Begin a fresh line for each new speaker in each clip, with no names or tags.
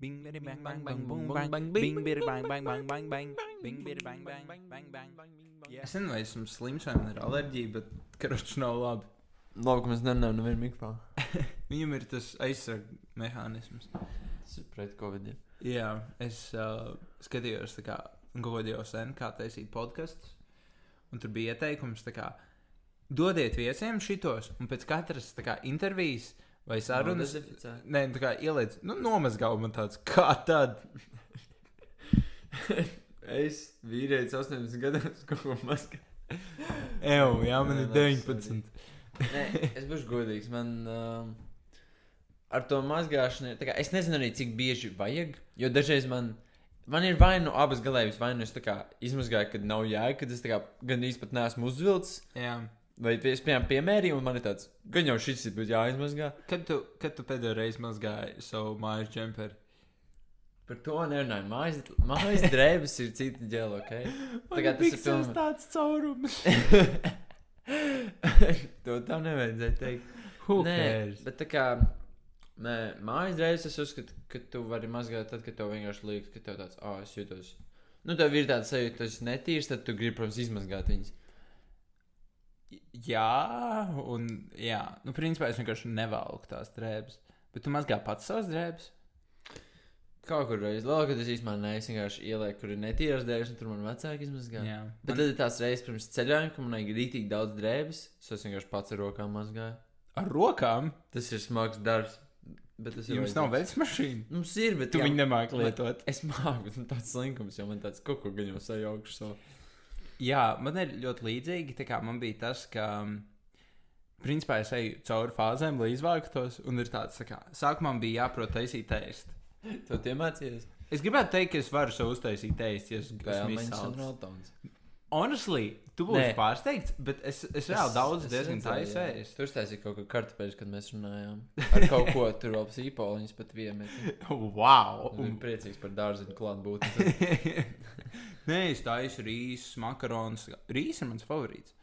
Bing bitty bang bang bang boom bang bang bing bitty bang bang bang bang bang bing bitty bang bang bang bang. Yeah.
Es nezinu, vai esmu slims vai man ir alerģija, bet karoči nav labi.
Labi, ka mēs nemanām, no viena mikrofona.
Viņam ir tas aizsarg mehānisms.
Tas ir pret covid.
Jā, es uh, skatījos, tā kā godījos sen, kā taisīt podkastus. Un tur bija ieteikums, tā kā dodiet viesiem šitos, un pēc katras tā kā, intervijas vai sarunas.
Nodezinficē.
Nē, tā kā ieliec, nu, nomazgā man tāds, kā tad.
Es vīrietis 18 gados, kaut ko maskē.
Ew, jā, man
Nē,
ir
nē,
19.
Nē, es būšu godīgs. Man um, ar to mazgāšanu ir. tā Kā, es nezinu arī, cik bieži vajag. Jo dažreiz man, man ir vai nu abas galējības, vai nu es tā kā izmazgāju, kad nav jēga, kad es tā kā gandrīz pat neesmu uzvilcis.
Jā.
Vai pie- es piemēram piemērīju, un man ir tāds, gan jau šis ir bijis jāizmazgā.
Kad tu, kad tu pēdējo reizi mazgāji savu mājas džemperi?
Par to nerunāju. Mājas, mājas drēbes ir cita ģēla, ok? Tagad tas ir pilnīgi-
tāds caurums.
to tam nevajadzēja teikt.
Who
Nē,
cares?
bet tā kā nē, mājas reizes es uzskatu, ka tu vari mazgāt, tad, kad tev vienkārši liekas, ka tev tāds, ah, oh, es jūtos. Nu, tev ir tāds sajūta, ka tu esi netīrs, tad tu gribi, protams, izmazgāt viņas.
Jā, un jā, nu, principā es vienkārši nevelku tās drēbes. Bet tu mazgā pats savas drēbes.
Kaut kur reizes, labi, ka tas īstenībā nē, es vienkārši ielieku, kur ir netīras drēbes, un tur man vecāki izmazgā.
Jā,
Bet tad ir tās reizes pirms ceļojuma, kad man ir rītīgi daudz drēbes, so es vienkārši pats ar rokām mazgāju.
ar rokām
Tas ir smags darbs, bet tas ir.
jums nav
vajadzīgs.
veids mašīna.
Mums ir, bet
Tu
jā,
viņu nemāki
man-
lietot.
Es māku, un tāds slinkums, jo man tāds kaut ko gan jau sajaukšu. So.
Jā, man ir ļoti līdzīgi. tā kā Man bija tas, ka, um, principā, es eju cauri fāzēm, lai izvāktos. Un ir tāds, tā kā sākumā man bija jāprot taisīt ēst.
Tu tie mācījies?
Es gribētu teikt, ka es varu sev uztaisīt ēst, ja es esmu
Pēlmeņas un
izsācis.
rotons.
Honestly, tu
Nē.
būsi pārsteigts, bet es, es reāli daudz diezgan taisu ēst.
Tur stāstīja kaut kā kartupeļus, kad mēs runājām. Ar kaut ko tur vēl sīpoliņus pat vienmēr.
Wow!
Un
Un
bija priecīgs par dārziņu klātbūtni.
Nē, es taisu rīsus, makaronus. Rīs ir mans favorīts.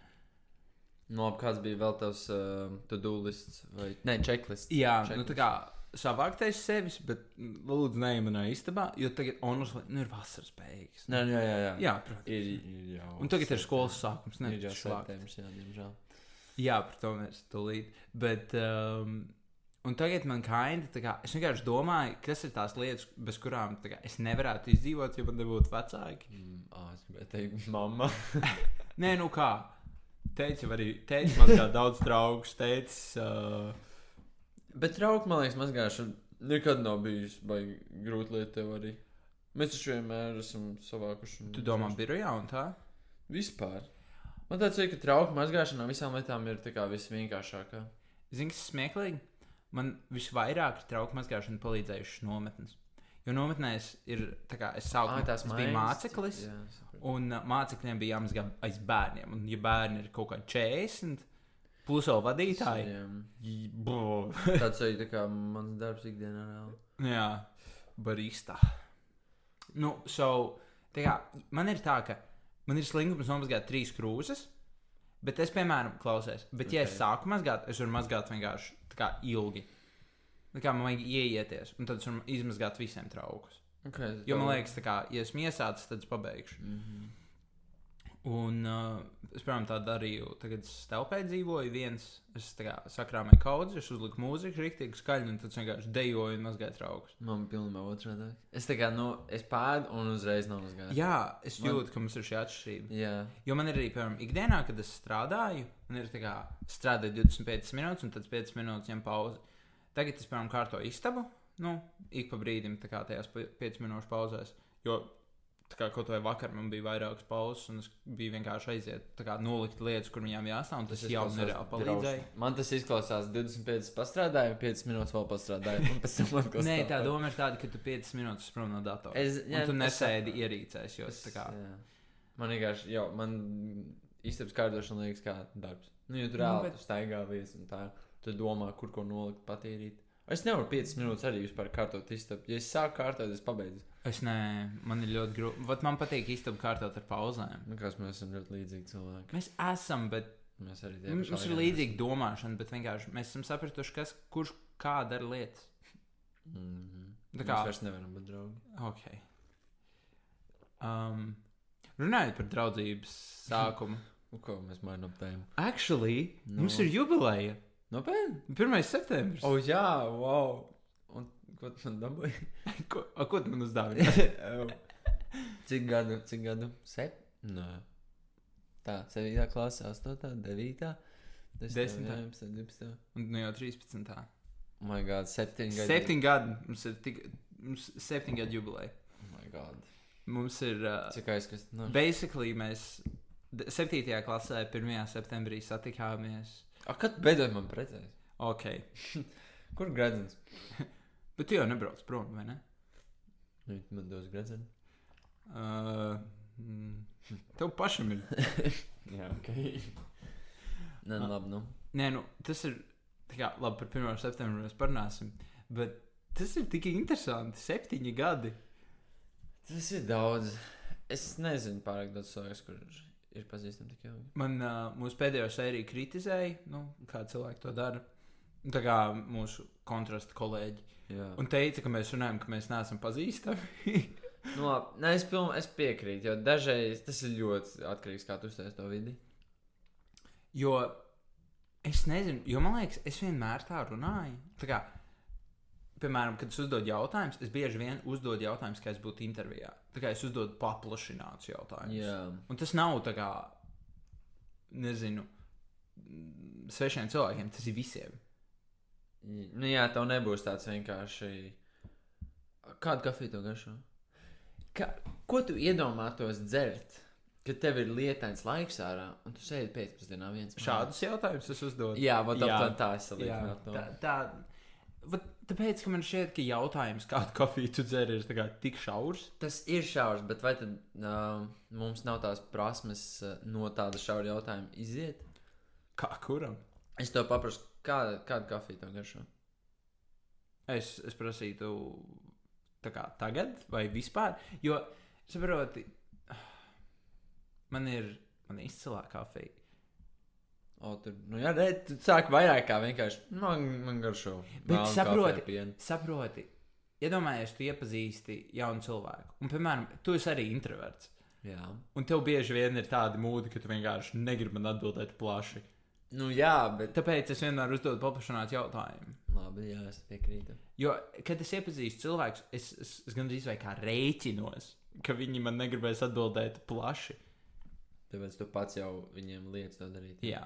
Nu, labi, kāds bija vēl tavs uh, to-do lists vai... Nē, checklists.
Jā,
Čeklis.
nu tā kā savāktais sevis, bet mm, lūdzu, ne manā istabā, jo tagad, honestly, nu ir vasaras beigas.
Nē, nu, jā, jā, jā.
Jā, protams.
Ir, ir jau.
Un tagad ir skolas sākums. Ne,
Ir jau
švakt.
septembris, jā, diemžēl.
Jā, par to mēs tulīt. Bet, um, un tagad man kaini, tā kā es vienkārši domāju, kas ir tās lietas, bez kurām tā kā, es nevarētu izdzīvot, ja man nebūtu vecāki.
Mm, ā, es gribēju teikt, mamma.
Nē, nu kā. Teicu, jau arī teicu, man kā daudz draugu, teicu. Uh,
Bet trauku, man liekas, mazgāšana nekad nav bijusi baigi grūta lieta tev arī. Mēs taču vienmēr esam savākuši. un
Tu domā,
mazgājuši.
birojā un tā?
Vispār. Man tāds ir, ka trauku mazgāšana no visām lietām ir tā kā visvienkāršākā.
Zini, kas ir smieklīgi? Man visvairāk ir trauku mazgāšana palīdzējušas nometnes. Jo nometnēs ir tā kā es
Ā,
sāku no
tās
bija
mājas,
māceklis.
Jā, saprotu.
Un uh, mācekļiem bija jāmazgā aiz bērniem. Un, ja bērni ir kaut kādi 40, plus vēl vadītāji,
Jā.
j- bo.
Tāds arī tā kā mans darbs ikdienā. reāli.
jā, barista. Nu, so, tā kā, man ir tā, ka man ir slinkums nomazgāt trīs krūzes, bet es, piemēram, klausies, bet ja es
Ok.
sāku mazgāt, es varu mazgāt vienkārši tā kā ilgi. Tā kā man vajag ieieties, un tad es varu izmazgāt visiem traukus.
Okay,
Jo man liekas, tā kā, ja esmu iesācis, tad es pabeigšu.
Mm -hmm.
Un uh, es, piemēram, tā darīju. Tagad es telpē dzīvoju, viens, es tā kā sakrāmēju kaudzes, es uzliku mūziku, rīktīgi skaļi, un tad es vienkārši dejoju un mazgāju traukus.
Man pilnībā otrādi. Es tā kā, nu, es pēdu un uzreiz nomazgāju.
Jā, es
Man-
jūtu, ka mums ir šī atšķirība.
Jā.
Jo man ir arī, piemēram, ikdienā, kad es strādāju, man ir tā kā strādāju 25 minūtes, un tad 5 minūtes ņem pauzi. Tagad es, piemēram, kārtoju istabu, nu, ik pa brīdim, tā kā tajās 5 minūšu pauzēs. Jo, tā kā kaut vai vakar man bija vairākas pauzes, un es biju vienkārši aiziet, tā kā nolikt lietas, kur viņām jāstāv, un tas, tas jau
izklausās
nereāli palīdzēja.
drauši. Man tas izklausās 25 pastrādāju, 5 minūtes vēl pastrādāju, un pēc tam atkal.
Nē, tā
strādāju.
doma ir tāda, ka tu 5 minūtes prom no datora.
Es-
un
jā,
tu
es-
nesēdi ierīcēs, jo
Es-
tā kā.
jā. Man vienkārši, jau, man īstenībā kārtošana liekas kā darbs. Nu, jo tur
Nu,
reāli
bet-
nu, staigā vies un tā, tu domā, kur ko nolikt, patīrīt. Es nevaru 5 minūtes arī vispār kārtot istabu. Ja es sāku kārtot, es pabeidzu.
Es nē, man ir ļoti grūti. Vat man patīk istabu kārtot ar pauzēm.
Nu, kāds mēs esam ļoti līdzīgi cilvēki.
Mēs esam, bet
Mēs arī tie
Mums
pašā
ir
vienā
līdzīga domāšana, bet vienkārši mēs esam sapratuši, kas kurš kā dara lietas.
esam. Mhm.
Tā
Mēs
kā
vairs nevaram būt draugi.
Ok. Um, runājot par draudzības
Un
sākumu. Nu.
Nu, ko mēs mainām tēmu?
Actually, no.
No.
mums ir jubileja.
Nopietni!
1. septembris.
O, oh, jā, wow! Un ko tu man dabūji?
ko, a, ko tu man uzdāvināji?
Ew. cik gadu? Cik gadu? Sep? Nē. Tā, 7. klasē, 8. 9. 10.
Desmitā.
11. 12.
Un nu jau 13.
Oh my god, 7 gadu.
7 gadi. Mums ir tik, mums 7 gadu jubileja.
Oh my god.
Mums ir. Uh,
Cik aizskats? Nu.
basically, mēs d- 7. klasē, 1. septembrī satikāmies.
A, kad beidzot man precēs?
Ok.
Kur gradzens?
Bet tu jau nebrauc prom, vai ne?
Nu, man dos gradzenu.
Uh, mm, tev pašam ir
Jā, ok. Nē, nu, labi, nu.
Nē, nu, tas ir. tā Kā, labi, par 1. septembri mēs parunāsim. Bet tas ir tik interesanti. Septiņi gadi.
Tas ir daudz. Es nezinu pārāk daudz cilvēku, kurš ir pazīstami tik ilgi.
Man uh, mūsu pēdējo sēriju kritizēja, nu, kā cilvēki to dara. Un Tā kā mūsu kontrasta kolēģi.
Jā.
Un teica, ka mēs runājam, ka mēs neesam pazīstami.
Nu, labi, nē, es, piln, es piekrītu, jo dažreiz tas ir ļoti atkarīgs no tā, kā tu uzstājies to vidi.
jo es nezinu, jo man liekas, es vienmēr tā runāju. Tā kā, piemēram, kad es uzdodu jautājumus, es bieži vien uzdodu jautājumus, kā es būtu intervijā. Tā kā es uzdodu paplašinātu jautājumus.
Jā,
Un tas nav tā kā, nezinu, mm, svešiem cilvēkiem, tas ir visiem.
J- nu, jā tev nebūs tāds vienkārši. Kādu kafiju tu garšo? Ka... Ko tu iedomātos dzert, kad tev ir lietains laiks ārā un tu sēdi pēcpusdienā viens? mājās?
Šādus jautājumus es uzdodu.
Jā, vat
Jā.
aptuveni tā es
Jā,
salīdzinātu. to.
tā, tā, vat tāpēc, ka man šķiet, ka jautājums, kādu kafiju tu dzer, ir tā kā tik šaurs.
Tas ir šaurs, bet vai tad uh, mums nav tās prasmes uh, no tāda šaura jautājuma iziet?
Kā kuram?
Es to paprasu, kā, kādu kafiju tam garšo.
Es, es prasītu, tā kā tagad, vai vispār. Jo, saproti, man ir man ir izcilā kafija.
O, tur, nu, jā, re, tu sāki vairāk kā vienkārši. Man, man garšo.
Bet
melnu
saproti-
kafiju ar pienu.
Saproti, iedomājies, tu iepazīsti jaunu cilvēku. Un, piemēram, tu esi arī introverts.
Jā.
Un tev bieži vien ir tādi mūdi, ka tu vienkārši negribi man atbildēt plaši.
Nu, jā, bet.
Tāpēc es vienmēr uzdodu paplašinātu jautājumu.
Labi, jā, es piekrītu.
Jo, kad es iepazīstu cilvēkus, es, es, es gandrīz vai kā rēķinos, ka viņi man negribēs atbildēt plaši.
Tāpēc tu pats jau viņiem lietas to darīt.
Jā,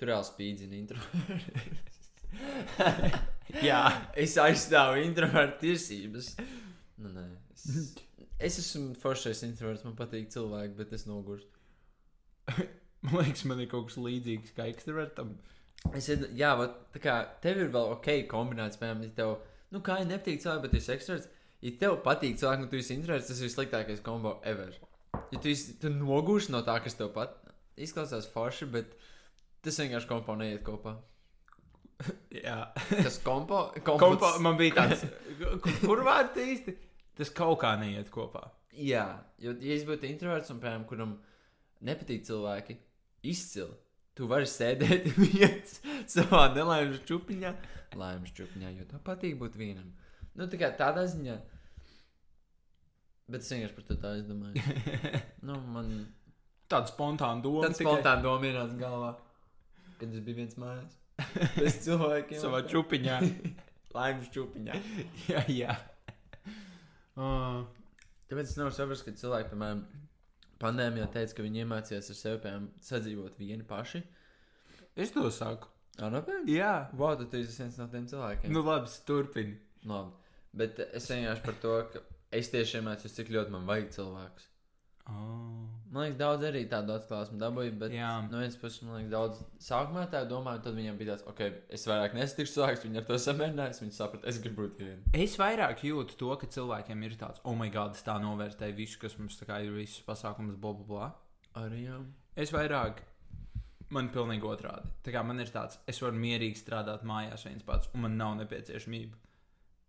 Tur jau spīdzina introverts.
Jā.
es aizstāvu introvertu tiesības. Nu, nē, es, es esmu foršais introverts, man patīk cilvēki, bet es nogurstu.
man liekas, man ir kaut kas līdzīgs kā ekstravertam.
Es iedo- jā, vat, tā kā tev ir vēl ok, kombinēts, piemēram, ja tev, nu, kā ja nepatīk cilvēki, bet tu esi ekstraverts. Ja tev patīk cilvēki, un tu esi introverts, tas ir sliktākais kombo ever. Ja tu, esi, tu nogursti no tā, kas tev pat izklausās forši, bet tas vienkārši kompo neiet kopā.
Jā,
Tas kompo, kompo,
Kompo, man bija tāds, kur vārds īsti? Tas kaut kā neiet kopā.
Jā, jo, ja es būtu introverts un, piemēram, kuram nepatīk cilvēki, izcili, tu vari sēdēt viens savā nelaimes čūpiņā, laimes čūpiņā, jo tev patīk būt vienam. Nu, tā kā tādā ziņā. Bet es vienkārši par to tā aizdomāju. Nu, man
Tāda spontāna doma.
tāds spontāns doma ienāca galvā, kad es biju viens mājās. Bez cilvēkiem.
savā čūpiņā.
Laimes čūpiņā.
jā, jā. Uh,
Tāpēc es nevaru saprast, ka cilvēki, piemēram, pandēmijā teica, ka viņi iemācījās ar sevi piemēram, sadzīvot vieni paši.
es to saku.
Ar nopietni?
Jā,
Wow, tad tu esi viens no tiem cilvēkiem.
nu labi, turpini.
Nu. Labi. Bet es vienkārši par to, ka es tieši iemācījos, cik ļoti man vajag cilvēkus.
Oh.
Man liekas, daudz arī tādu atklāsmu dabūju, bet
Jā.
no vienas puses, man liekas, daudz sākumā tā domāju, tad viņiem bija tāds, ok, es vairāk nesatikšu cilvēkus, viņi ar to samierinājās, viņi saprata, es gribu būt viens.
Es vairāk jūtu to, ka cilvēkiem ir tāds, oh, my God, es tā novērtēju visu, kas mums tā kā ir visas pasākums, bla, bla, bla.
Arī jā.
Es vairāk, man ir pilnīgi otrādi. Tā kā man ir tāds, es varu mierīgi strādāt mājās viens pats, un man nav nepieciešamība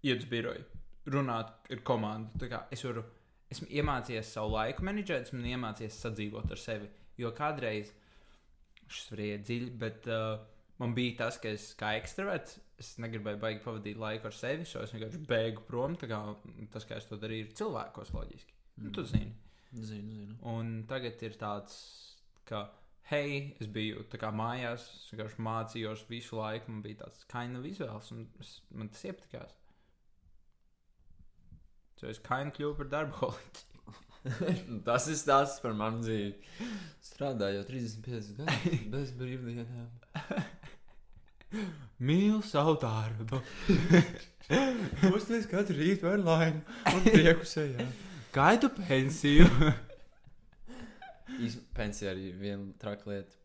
iet uz biroju, runāt ar komandu. Tā kā es varu, esmu iemācījies savu laiku menedžēt, esmu iemācījies sadzīvot ar sevi. Jo kādreiz, šis var iet dziļi, bet uh, man bija tas, ka es kā ekstraverts, es negribēju baigi pavadīt laiku ar sevi, so es vienkārši bēgu prom. tā Kā, tas, kā es to darīju, ir cilvēkos loģiski. Mm. Tu zini.
Zinu, zinu.
Un tagad ir tāds, ka, hei, es biju tā kā mājās, es vienkārši mācījos visu laiku, man bija tāds kind of izvēles, un es, man tas iepatikās. So es kind of kļuvu par darbu.
Nu, Tas ir stāsts par manu dzīvi. Strādāju jau 35 gadus bez brīvdienām.
Mīlu savu darbu.
Pusdienas katru rītu ar laimi un prieku sejā.
Gaidu pensiju.
Pensija arī viena traka lieta.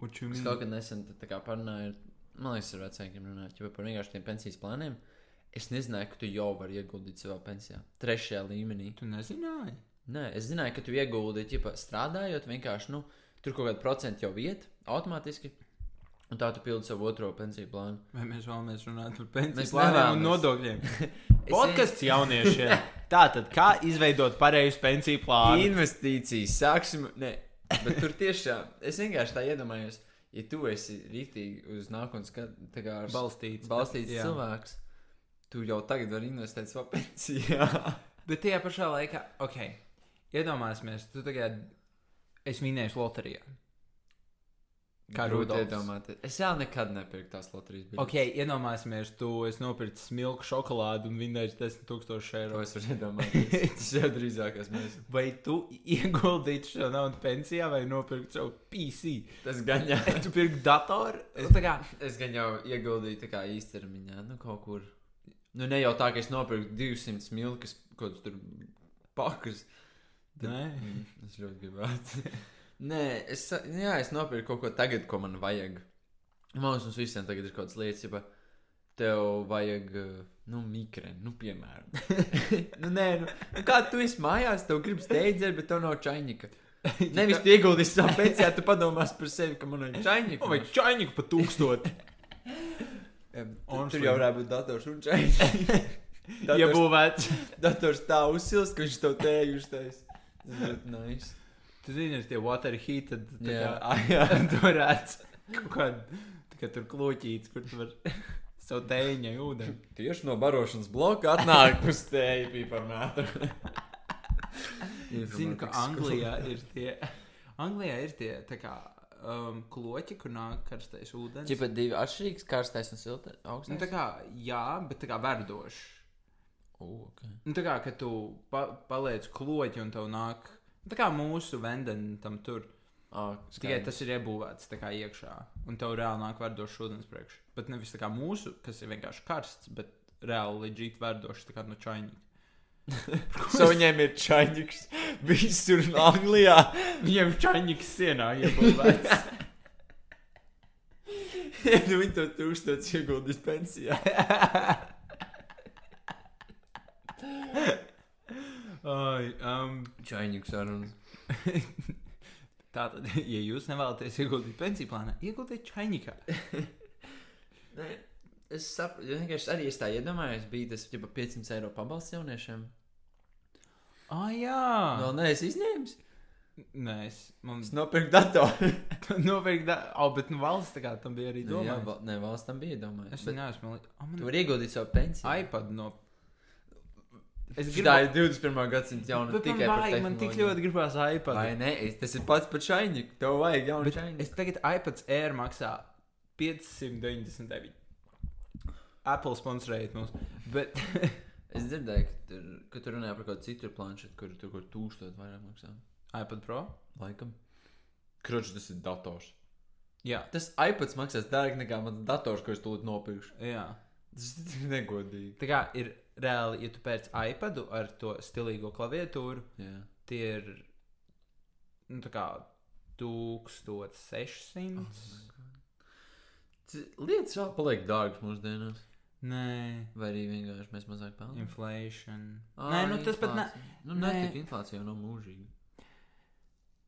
What you
Es
mean?
kaut kad nesen tā kā parunāju, ar- man liekas, ar vecākiem runāju ķipa par vienkārši tiem pensijas plāniem. Es nezināju, ka tu jau vari ieguldīt savā pensijā, trešajā līmenī.
Tu nezināji?
Nē, es zināju, ka tu ieguldi, ja strādājot, vienkārši nu, tur kaut kāda procenta jau vieta automātiski. Un tā tu pildi savu otro pensiju plānu.
Vai mēs vēlamies runāt par pensiju
Mēs
plāniem un
nevēlamies.
nodokļiem?
Es
Podkāsts jauniešiem. Tātad, kā izveidot pareizu pensiju
nu.
plānu?
Investīcijas sāksim. Nē, bet tur tiešām es vienkārši tā iedomājos, ja tu esi rītīgi uz nākotnes skatu, tā kā ar
Balstīts.
balstīts
Jā.
cilvēks, tu jau tagad vari investēt savā pensijā.
Bet tajā pašā laikā, ok, iedomāsimies, tu tagad esi vinējis loterijā. Kā
Grūti
Rudolfs.
iedomāties. Es jau nekad nepirku tās loterijas biļetes.
Ok, iedomāsimies, tu esi nopircis milku šokolādi un vinējis 10 000
To
eiro.
es varu iedomāties. Tas jau drīzāk esmu. es.
Vai tu ieguldītu šo naudu pensijā vai nopirkt savu PC?
Tas gan jā.
Tu pirki datoru? Nu,
Es-
Tā kā
Es gan jau ieguldīju tā kā īstermiņā, nu kaut kur. Nu ne jau tā, ka es nopirku 200 milkas kaut kur pakas. Bet-
Nē.
Mm, Es ļoti gribētu. Nē, es, sa- nu jā, es nopirku kaut ko tagad, ko man vajag. Man liekas, mums visiem tagad ir kaut kādas lietas, ja tev vajag, eh, nu, mikrēnu, nu, piemēram. nu, nē, nu, nu, kā tu esi mājās, tev gribas teidzēt, bet tev nav čaiņika. Nevis tu ieguldīsi savā pensijā, tu padomās par sevi, ka man ir čaiņika.
Vai čaņģi pa tūkstoti?
Jā, bet tu-
Honestly.
Tur jau varētu būt dators un čaļš. dators,
Iebūvēts.
dators tā uzsilst, ka viņš tev tēju uztais. Tas ļoti nice.
Tu zini, ir tie water heated. tā
Jā,
kā-
ah, jā.
Tu varētu kaut kādu, tā kā tur kloķīts, kur tu vari savu tēņa ūdeni.
Tieši no barošanas bloka atnāk uz tēju piparmētu.
Zinu, ka Anglijā ir tie, Anglijā ir tie, tā kā, um, kloķi, kur nāk karstais ūdens.
Čipa divi atšķirīgs, karstais un siltais
Nu, tā
augstais.
kā, jā, bet tā kā verdoši.
O, ok.
Nu, tā kā, ka tu pa, paliec kloķi un tev nāk, tā kā mūsu vendeni tam tur.
Ah,
Tikai
skaidrs.
tas ir iebūvēts tā kā iekšā, un tev reāli nāk verdošs ūdens priekšā. Bet nevis tā kā mūsu, kas ir vienkārši karsts, bet reāli leģīt verdošs tā kā no čaņģa.
So viņiem ir čaļģis visur Anglijā.
Viņam čaņģis sienā iebūvēts.
nu, viņi to tūkstots ieguldīs pensijā.
Ai, um,
Čaļģis ar un...
tātad, ja jūs nevēlaties ieguldīt pensiju plānā, ieguldiet čaņģikā.
Nē, es saprotu, ja vienkārši arī es tā iedomājos, bija tas jau 500 eiro pabalsts jauniešiem.
Ah, jā!
Vēl neesmu izņēmis.
Nē, es, man
Es nopirku datoru.
nopietni, da... oh, bet nu valsts tā kā tam bija arī
Nu, jā,
domāts.
val, nē, valsts tam bija
Es
domājis. Bet
neesmu, oh,
Tu
man
vari ieguldīt savu pensiju.
iPad no. Es
Es
gribēju
gribēju 21. gadsimta jaunu
Bet man,
nu tikai par
vajag, man tik
tehnoloģiju.
ļoti gribās iPad.
Vai ne? Es, tas ir pats par šainiku. Tev vajag jaunu
Bet
šainiku.
es tagad iPad Air maksā 599. Apple sponsorējiet mums. Bet
Es, es dzirdēju, ka tur, ka tur runāja par kaut kādu citu planšetu, kur tur kaut tūkstot vairāk maksā.
iPad Pro?
Laikam. Kroč, tas ir dators.
Jā.
Tas iPads maksās dārgāk nekā mans dators, ko es tūlīt nopirkšu.
Jā.
Tas ir negodīgi.
Tā kā ir reāli, ja tu pēc iPadu ar to stilīgo klaviatūru,
Jā.
tie ir nu, tā kā 1600. Oh
C- Lietas vēl paliek dārgas mūsdienās.
Nē,
Vai arī vienkārši mēs mazāk pelnām?
inflation.
Ā,
Nē, nu tas pat ne.
inflācija. Nu,
nē.
nē, tik inflācija jau nav mūžīga.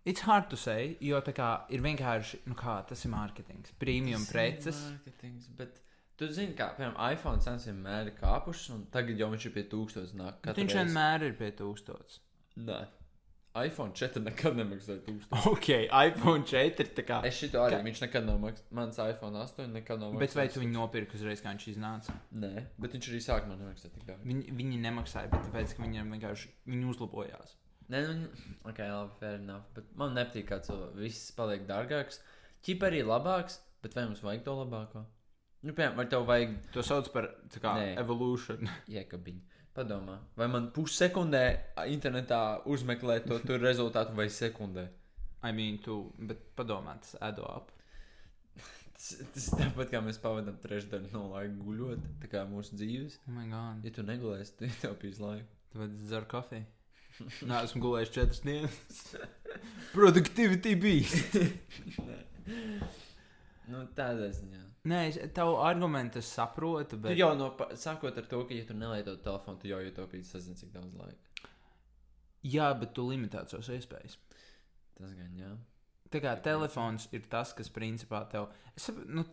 It's hard to say, jo tā kā ir vienkārši, nu kā, tas ir mārketings. Premium preces.
Mārketings, bet tu zini, kā, piemēram, iPhone cenas vienmēr ir kāpušas, un tagad jau viņš ir pie tūkstošiem nāk.
Bet Viņš vienmēr ir pie tūkstoša.
Nē. iPhone 4 nekad nemaksāja 1000.
Ok, iPhone 4. tā Kā,
Es šito arī, viņš nekad nav maksājis. Mans iPhone 8 nekad nav maksājis.
bet vai tu viņu nopirki uzreiz, kā viņš iznāca?
Nē, bet viņš arī sāk man nemaksāt tik daudz.
Viņi, viņi nemaksāja, bet tāpēc, ka viņiem vienkārši viņi uzlabojās.
Nē, nu, ok, labi, fair enough. Bet man nepatīk, kā cilvēks viss paliek dārgāks. Ķip arī labāks, bet vai mums vajag to labāko? Nu, piemēram, vai tev vajag
To sauc par tā kā
Nē.
evolūciju.
iekabiņu? Padomā, vai man pussekundē internetā uzmeklē to tur rezultātu vai sekundē?
I mean, tu, bet padomā, tas edo ap.
Tas, tas tāpat kā mēs pavadām trešdaļu no laika guļot, tā kā mūsu dzīves.
Oh my god.
Ja tu negulēsi, tad ietaupīsi laiku.
Tāpēc es dzeru kafiju. Nē, esmu gulējis četras dienas. Produktivitāte bija.
Nu, tādā ziņā.
Nē, es tavu argumentu es saprotu,
Bet...
bet
Tu jau no pa- sākot ar to, ka, ja tu nelieto telefonu, tu jau ietaupīsi sazināties, cik daudz laika.
jā, bet tu limitēji savas iespējas.
Tas gan jā.
Tā kā telefons ir tas, kas principā tev. Es saprotu, nu,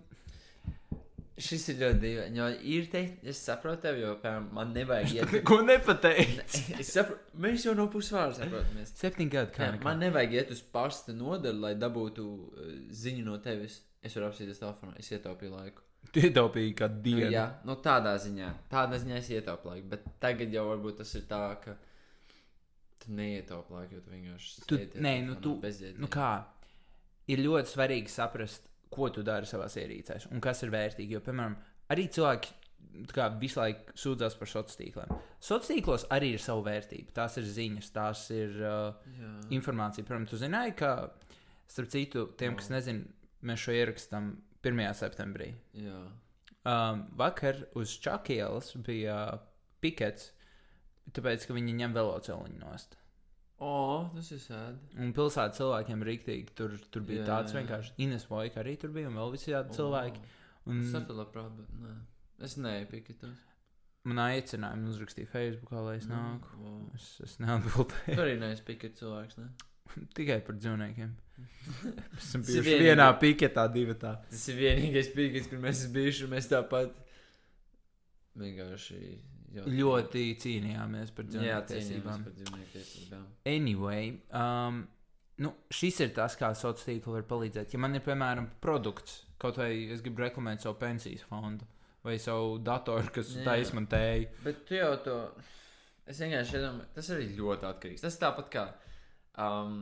Šis ir ļoti dīvaini. Jo ir te, es saprotu, tev, jo piemēram, man nevajag iet.
ko nepateikt.
Es saprotu, mēs jau no pusvārda saprotamies.
Septiņi gadi, kā
Man nevajag iet uz pasta nodaļu, lai dabūtu uh, ziņu no tevis. Es varu apsēsties telefonā, es ietaupīju laiku.
Tu ietaupīji kā
Nu,
dienu.
jā, nu tādā ziņā. Tādā ziņā es ietaupu laiku, bet tagad jau varbūt tas ir tā, ka tu neietaupi laiku, jo tu vienkārši.
Tu-
sēdi
nē, nu
telefonā
tu-
bezjēdzīgi.
Nu kā, ir ļoti svarīgi saprast, ko tu dari savā ierīcē un kas ir vērtīgi. Jo, piemēram, arī cilvēki tā kā, visu laiku sūdzas par sociāliem tīkliem. Sociālos tīklos arī ir sava vērtība. Tās ir ziņas, tās ir uh,
Jā.
informācija. Piemēram, tu zināji, ka, starp citu, tiem, kas nezina, mēs šo ierakstām 1. septembrī.
Jā.
Um, vakar uz Čakielas bija pikets, tāpēc, ka viņi ņem veloceliņu nost.
O, tas ir sēdi.
Un pilsētā cilvēkiem rīktīgi tur, tur bija
Jā,
jā, tāds
jā.
vienkārši Ines Vojka arī tur bija un vēl visi tādi cilvēki. Mm. Un
Es saprotu, labprāt, bet nē. Es neiepiekritos.
man aicināja, man uzrakstīja Facebookā, lai es
Mm.
nāku.
Wow.
Es, es neatbildēju
Tu arī neesi pikets cilvēks, ne?
tikai par dzīvniekiem. Esmu
Tas ir
bijuši
vienīgi.
vienā piketā, divatā.
Tas ir vienīgais pikets, kur mēs esam bijuši, un mēs tāpat vienkārši jau...
Ļoti cīnījāmies par
jā,
dzīvnieku
cīnījāmies
tiesībām.
par dzīvnieku tiesībām.
Anyway, um, nu, šis ir tas, kā sociālā tīkla var palīdzēt. Ja man ir, piemēram, produkts, kaut vai es gribu reklamēt savu pensijas fondu vai savu datoru, kas
Jā.
taisa man tēju.
Bet tu jau to... Es vienkārši iedomājos, tas arī ļoti atkarīgs. Tas tāpat kā... Um,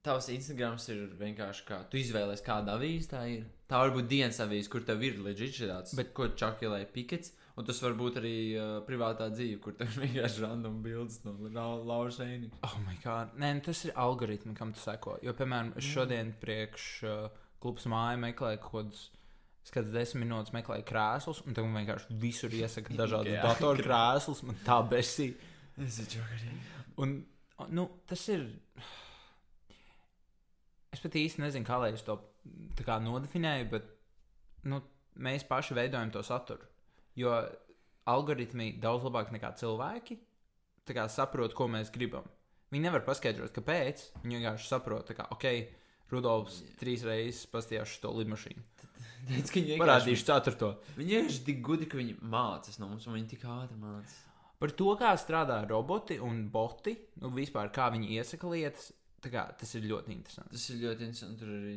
Tavs Instagrams ir vienkārši kā tu izvēlējies, kāda avīze tā ir. Tā var būt dienas avīze, kur tev ir leģitīvi tāds, bet ko čakilē pikets, un tas var būt arī uh, privātā dzīve, kur tev vienkārši random bildes no lau- laušēniem.
Oh, my God. Nē, nu tas ir algoritms, kam tu seko. Jo, piemēram, es šodien priekš uh, klubs māja meklēju kaut kādus. Es kāds desmit minūtes meklēju krēslus, un tam vienkārši visur iesaka dažādas
Ikea.
datoru krēslus. Man tā besī.
Es esmu čakarīgi.
Un, nu, tas ir. Es pat īsti nezinu, kā lai es to tā kā nodefinēju, bet nu, mēs paši veidojam to saturu. Jo algoritmi daudz labāk nekā cilvēki tā kā saprot, ko mēs gribam. Viņi nevar paskaidrot, kāpēc. Viņi vienkārši saprot, tā kā, ok, Rudolfs trīs reizes pastījās šo lidmašīnu.
Teic, ka viņi vienkārši,
Parādīšu ceturto.
viņi vienkārši tik gudri, ka viņi mācās no mums, un viņi tik ātri mācās.
Par to, kā strādā roboti un boti, nu vispār kā viņi iesaka lietas, tā kā, tas ir ļoti interesanti.
Tas ir ļoti interesanti. Tur arī.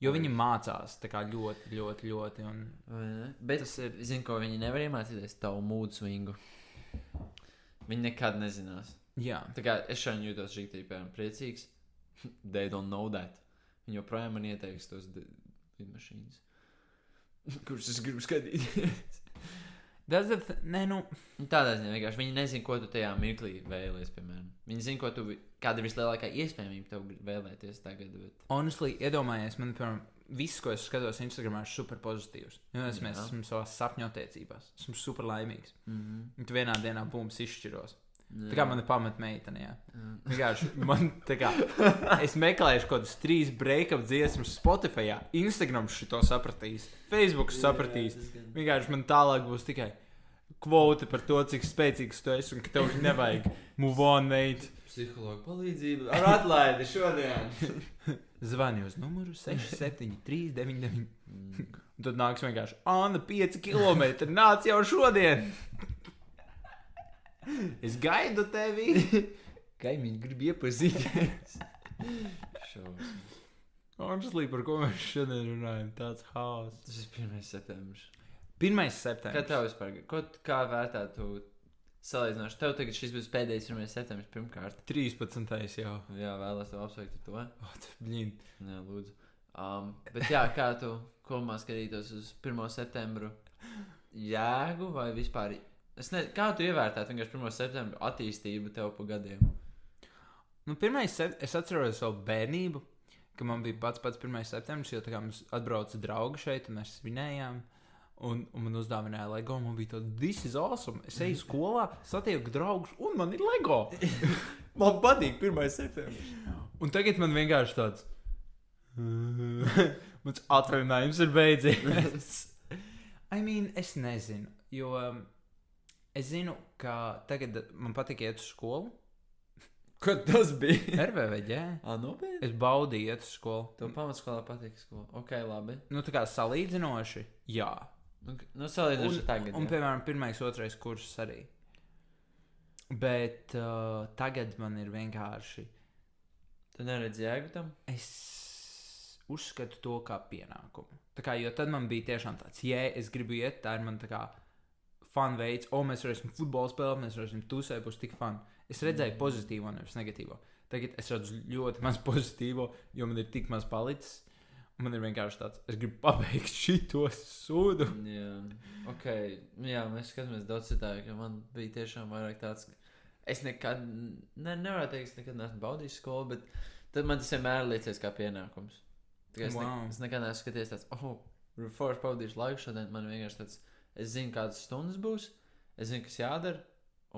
Jo viņi mācās tā kā ļoti, ļoti, ļoti. Un...
Vai ne? Bet es zinu, ko viņi nevar iemācīties tavu mūdu svingu. Viņi nekad nezinās.
Jā,
Tā kā es šodien jūtos rīktīgi, piemēram, priecīgs. They don't know that. Viņi joprojām man ieteiks tos di- lidmašīnas. Kurš es gribu skatīties?
tas ir. Nē, nu,
Nu, Tādā ziņā vienkārši viņi nezina, ko tu tajā mirklī vēlējies. Piemēram, viņi zina, ko tu, vi- kāda ir vislielākā iespējamība tev gri- vēlēties tagad. Bet...
honestly, iedomājies, man, piemēram, viss, ko es skatos Instagram, ir super pozitīvs. Jo es
Jā.
esmu savā sapņotiecībās, esmu super laimīgs.
Mm
Un tu vienā dienā bums izšķiros.
-hmm.
Mhm. Tā kā man ir pamatmeitene. jā. Vienkārši man tā kā. Es meklēju kaut kādas trīs break-up dziesmas Spotify. Instagram šo sapratīs, Facebook sapratīs. Vienkārši man tālāk būs tikai kvota par to, cik spēcīgs tu esi un ka tev nevajag move on, mate.
Psihologa palīdzība ar atlaidi šodien.
Zvani uz numuru 673, 99.
Mm.
Un tad nāks vienkārši Anna 5 km. Nāc jau šodien! Es gaidu tevi!
Kaimiņš grib iepazīties. Šaus.
Honestly, par ko mēs šodien runājam? Tāds haoss.
Tas ir 1. septembris.
1.
Kā
septembris.
tev vispār? Ko, kā vērtētu salīdzinoši? Tev tagad šis būs pēdējais 1. septembris pirmkārt.
13. jau.
Jā, vēlos tev apsveikt ar to.
O, tu Blin.
Jā, lūdzu. Um, bet jā, kā tu komā skatītos uz 1. septembru jēgu vai vispār? Es nezinu, kā tu ievērtētu vienkārši 1. septembru attīstību tev pa gadiem.
Nu, pirmais, sep- es atceros savu bērnību, ka man bija pats pats 1. septembris, jo tā kā mums atbrauca draugi šeit, un mēs svinējām. Un, un man uzdāvināja LEGO. Man bija tāds, this is awesome. Es eju skolā, satieku draugus, un man ir LEGO.
Man patīk 1. septembris.
Un tagad man vienkārši tāds, mans atvaļinājums ir beidzies. I mean, es nezinu, jo um, es zinu, ka tagad man patīk iet uz skolu.
Kad tas bija?
RVVģē.
Ā, nopietni.
Es baudīju iet uz skolu.
Tev pamatskolā patīk skola. Ok, labi.
Nu, tā kā salīdzinoši, jā.
Nu, k- Nu, salīdzinoši
Un-
tagad.
Un,
jā.
piemēram, pirmais, otrais kurs arī. Bet uh, tagad man ir vienkārši.
Tu neredzi jēgu tam?
Es uzskatu to kā pienākumu. Tā kā, jo tad man bija tiešām tāds, ja es gribu iet, tā ir man tā kā fun veids, o, mēs varēsim futbolu spēlēt, mēs varēsim tusēt, būs tik fun. Es redzēju mm. pozitīvo, nevis negatīvo. Tagad es redzu ļoti maz pozitīvo, jo man ir tik maz palicis. Un Man ir vienkārši tāds, es gribu pabeigt šo sūdu.
Jā, ok. nu, Jā, mēs skatāmies daudz citādi. ka Man bija tiešām vairāk tāds, ka es nekad, ne, nevaru teikt, es nekad neesmu baudījis skolu, bet tad man tas vienmēr liekas kā pienākums. Tā kā Es, wow.
Wow.
ne, es nekad neesmu skatījies tāds, oh, reforši pavadīšu laiku šodien. Man vienkārši tāds, es zinu, kādas stundas būs, es zinu, kas jādara,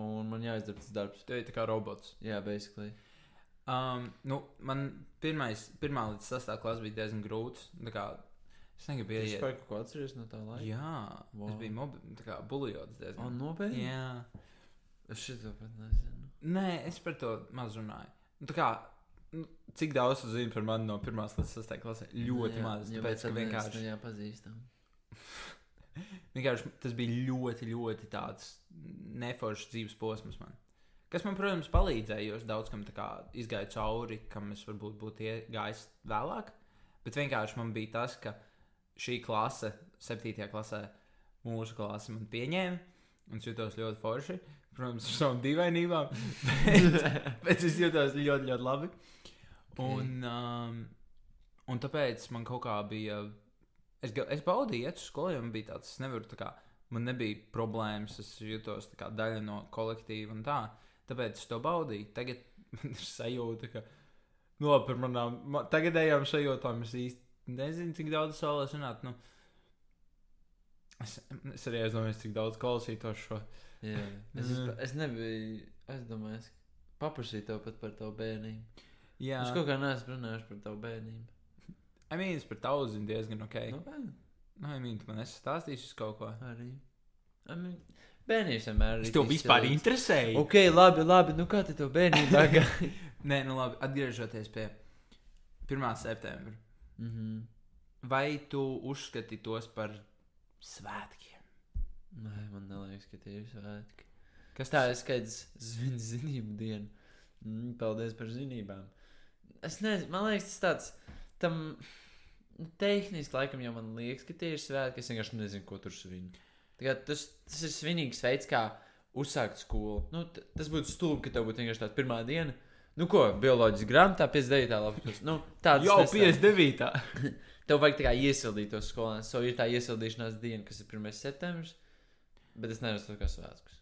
un man jāizdara tas darbs.
Tev ir tā kā robots.
Jā, basically.
Um, nu, man pirmais, pirmā līdz sastāvā klase bija diezgan grūts. tā Kā, es negribu
Es
iet.
vispār kaut ko atceros no tā laika.
Jā, wow.
Wow.
es biju mobi- tā kā buļbuļsaktas diezgan.
Un nopietni.
nu, Jā,
Es šito pat nezinu.
nē, es par to maz runāju. Nu, tā kā, nu, cik daudz jūs zināt par mani no pirmās līdz sastāvā klasē? Ļoti Nu, jā, maz.
jo
Tāpēc,
tad
ka
mēs
vienkārši,
nepazīstam.
vienkārši tas bija ļoti, ļoti tāds neforšs dzīves posms man. Kas man, protams, palīdzēja, jo es daudz kam tā kā izgāju cauri, kam es varbūt būtu ie- gājis vēlāk. Bet vienkārši man bija tas, ka šī klase, 7. klasē, mūsu klase man pieņēma. Un es jutos ļoti forši. Protams, ar savām dīvainībām. Bet, bet es jutos ļoti, ļoti labi. Un,
Mm.
um, un tāpēc man kaut kā bija. Es, ga- es baudīju, iet uz skolu, jo man bija tāds, es nevaru tā kā. Man nebija problēmas, es jutos tā kā daļa no kolektīva un tā. Tāpēc es to baudīju. Tagad man ir sajūta, ka no, par manām ma, tagadējām sajūtām es īsti nezinu, cik daudz es vēlos runāt. Nu, es, es arī aizdomājos, cik daudz klausītos šo.
Jā, es,
Mm.
mm. es nebiju aizdomājies. Paprasīju tev pat par tavu bērnību.
Jā,
Es kaut kā neesmu runājis par tavu bērnību.
I mean, es par tavu zinu diezgan ok.
No
Nu,
bērniem
no, I mean, tu man esi stāstījis kaut ko.
arī. I mean, Bērnības vienmēr ir.
Es tev
rītīgs
vispār
cilvēks.
interesēju.
Ok, labi, labi. Nu kā te tev bērnība tagad?
Nē, nu labi, atgriežoties pie 1. septembra.
Mhm.
Vai tu uzskati tos par svētkiem?
Nē, man neliekas, ka tie ir svētki.
Kas
Tā ir skaidrs zin zinību diena. Mm, Paldies par zinībām. Es nezinu, man liekas, tas tāds tam nu, tehniski laikam jau man liekas, ka tie ir svētki. Es vienkārši nezinu, ko tur svin. Tā kā Tas, tas ir svinīgs veids, kā uzsākt skolu. Nu, t- tas būtu stulbi, ka tev būtu vienkārši tāda pirmā diena. Nu, ko, bioloģijas grāmatā 59. lapus. Nu, tāds
Jau
tas tā.
59.
Tev vajag tā kā iesildīt to skolēnu. So ir tā iesildīšanās diena, kas ir 1. septembris, bet es neredzu to kā svētkus.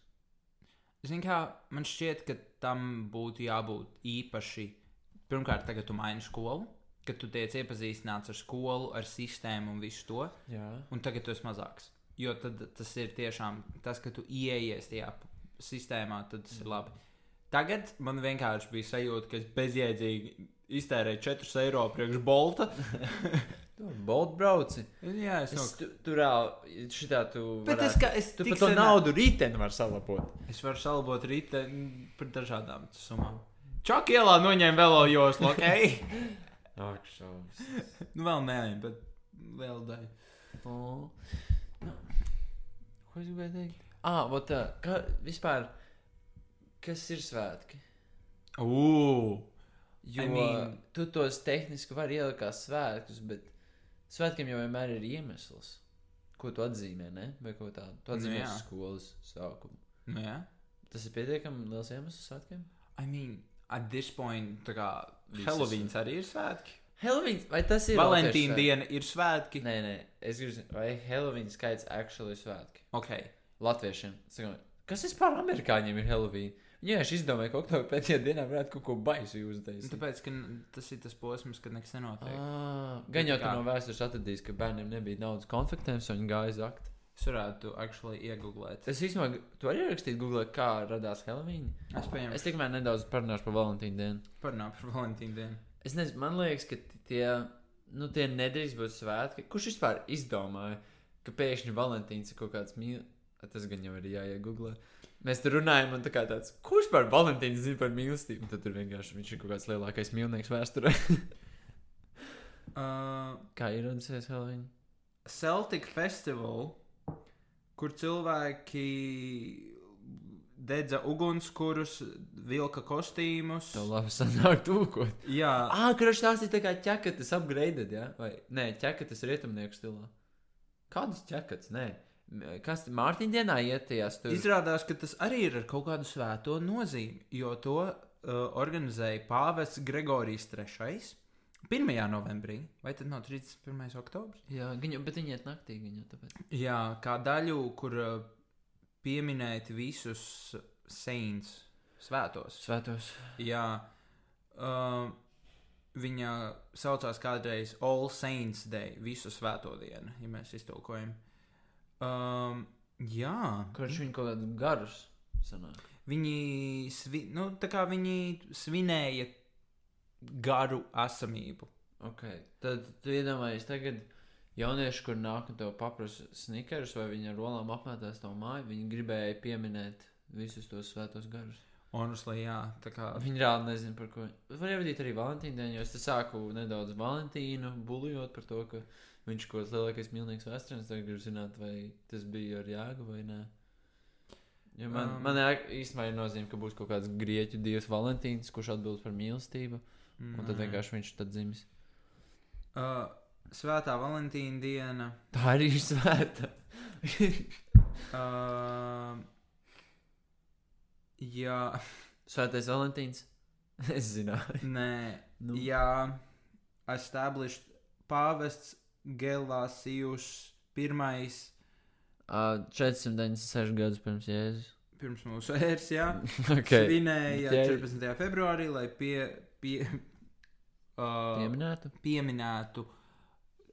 Ziniet, kā man šķiet, ka tam būtu jābūt īpaši. Pirmkārt, tagad tu maini skolu, kad tu tiec iepazīstināts ar skolu, ar sistēmu un visu to,
Jā.
un tagad tu esi mazāks. Jo tad tas ir tiešām tas, ka tu ieies tajā p- sistēmā, tad tas ir labi. Tagad man vienkārši bija sajūta, ka es bezjēdzīgi iztērēju 4 eiro priekš bolta.
Tu ar boltu brauci.
Jā, es,
Es
es...
tu, tur jau šitā tu.
Bet es,
varētu-
kā, es
Tu
tik
pat to
sen-
naudu rītdien vari salabot.
Es varu salabot rītu par dažādām summām. Čak ielā noņēma velo joslu, ok?
Ak, šausmas.
Nu, vēl nē, bet liela daļa.
Nu, ko es gribēju teikt? Ah, vot tā. Kā vispār, kas ir svētki?
Ugh!
Jo I mean,
mean-
tu tos tehniski vari ielikt kā svētkus, bet svētkiem jau vienmēr ir iemesls, ko tu atzīmē, ne? vai ko tādu. Tu
Nu
atzīmē
jā.
nu, skolas sākumu.
Nu, jā.
Tas ir pietiekami liels iemesls svētkiem.
I mean, at this point, tā kā
Visas-
Helovīns arī ir svētki.
Helovīns, vai tas ir?
Valentīna
latviešu
diena ir svētki.
svētki? Nē, nē, es gribu zināt, vai Helovīns skaits actually ir svētki.
Ok.
Latviešiem. Sakam, kas vispār amerikāņiem ir Helovīns? Viņi vienkārši izdomāja, ka oktobra pēdējā dienā varētu kaut ko baisu
Nu,
uztaisīt.
Tāpēc, ka n- tas ir tas posms, kad nekas nenotiek.
Ah, Gan jau tā
Nu, Kā?
no vēstures atradīs, ka bērniem nebija naudas konfliktiem, un viņi gāja zakt.
Es varētu actually iegooglēt.
Es īstenībā, tu arī rakstīji Google, kā radās Helovīna.
Es pieņemu,
Es tikmēr nedaudz parunāšu par Valentīnu dienu.
es parunāju par Valentīnu dienu.
Es nezinu, man liekas, ka t- tie, nu, tie nedrīkst būt svētki. Kurš vispār izdomāja, ka pēkšņi Valentīns ir kaut kāds mīl... Tas gan jau ir jāiegūglē. Mēs tur runājam, un tā kā tāds, kurš par Valentīnu zina par mīlestību? Un Tad tur vienkārši viņš ir kaut kāds lielākais mīlnieks vēsturē.
Uh,
kā ir radusies Helovīna?
Celtic Festival, kur cilvēki dedza ugunskurus, vilka kostīmus.
Tev labi sanāk tūkot.
Jā,
Ah, kurš tās ir tā kā ķekatas upgraded, jā? Vai, nē, ķekatas rietumnieku stilā. Kādas ķekatas? Nē. M- Kas Mārtiņa dienā iet tajās tur?
izrādās, ka tas arī ir ar kaut kādu svēto nozīmi, jo to uh, organizēja pāvests Gregorijs III. 1. novembrī, vai tad no 31. oktobrs?
Jā, viņu, bet viņi iet naktī, viņu tāpēc.
Jā, kā daļu, kur uh, pieminēt visus saints, svētos.
Svētos.
Jā, um, viņa saucās kādreiz All Saints Day, visu svēto dienu, ja mēs iztulkojam. Um, jā,
Kurš viņi kaut kādus garus sanāk?
viņi, svi, nu, tā kā viņi svinēja garu esamību.
Ok, tad tu iedomājies tagad jaunieši, kur nāk un tev paprasa snikerus vai viņa rolām apmētās to māju, viņi gribēja pieminēt visus tos svētos garus.
Honestly, jā, tā kā
Viņa reāli nezina, par ko. Var ievadīt arī Valentīnu dienu, jo es te sāku nedaudz Valentīnu buļļot par to, ka viņš ir kaut kāds lielākais mīlnieks vēsturē. Es tagad gribu zināt, vai tas bija ar jēgu vai nē. Jo man,
Um.
um, man āk- īstenībā ir nozīme, ka būs kaut kāds grieķu dievs Valentīns, kurš atbild par mīlestību, un
mm.
tad vienkārši viņš tad dzimis.
Uh, svētā Valentīna diena.
Tā arī ir svēta.
Uh, jā,
Svētais Valentīns. es zināju.
nē.
Nu.
Jā, established pāvests Gelasijus pirmais
Uh, 496 gadus pirms Jēzus.
pirms mūsu ēras, jā. Okay.
okay.
Svinēja
Jē-
14. februārī, lai pie, pie, uh,
Pieminētu?
pieminētu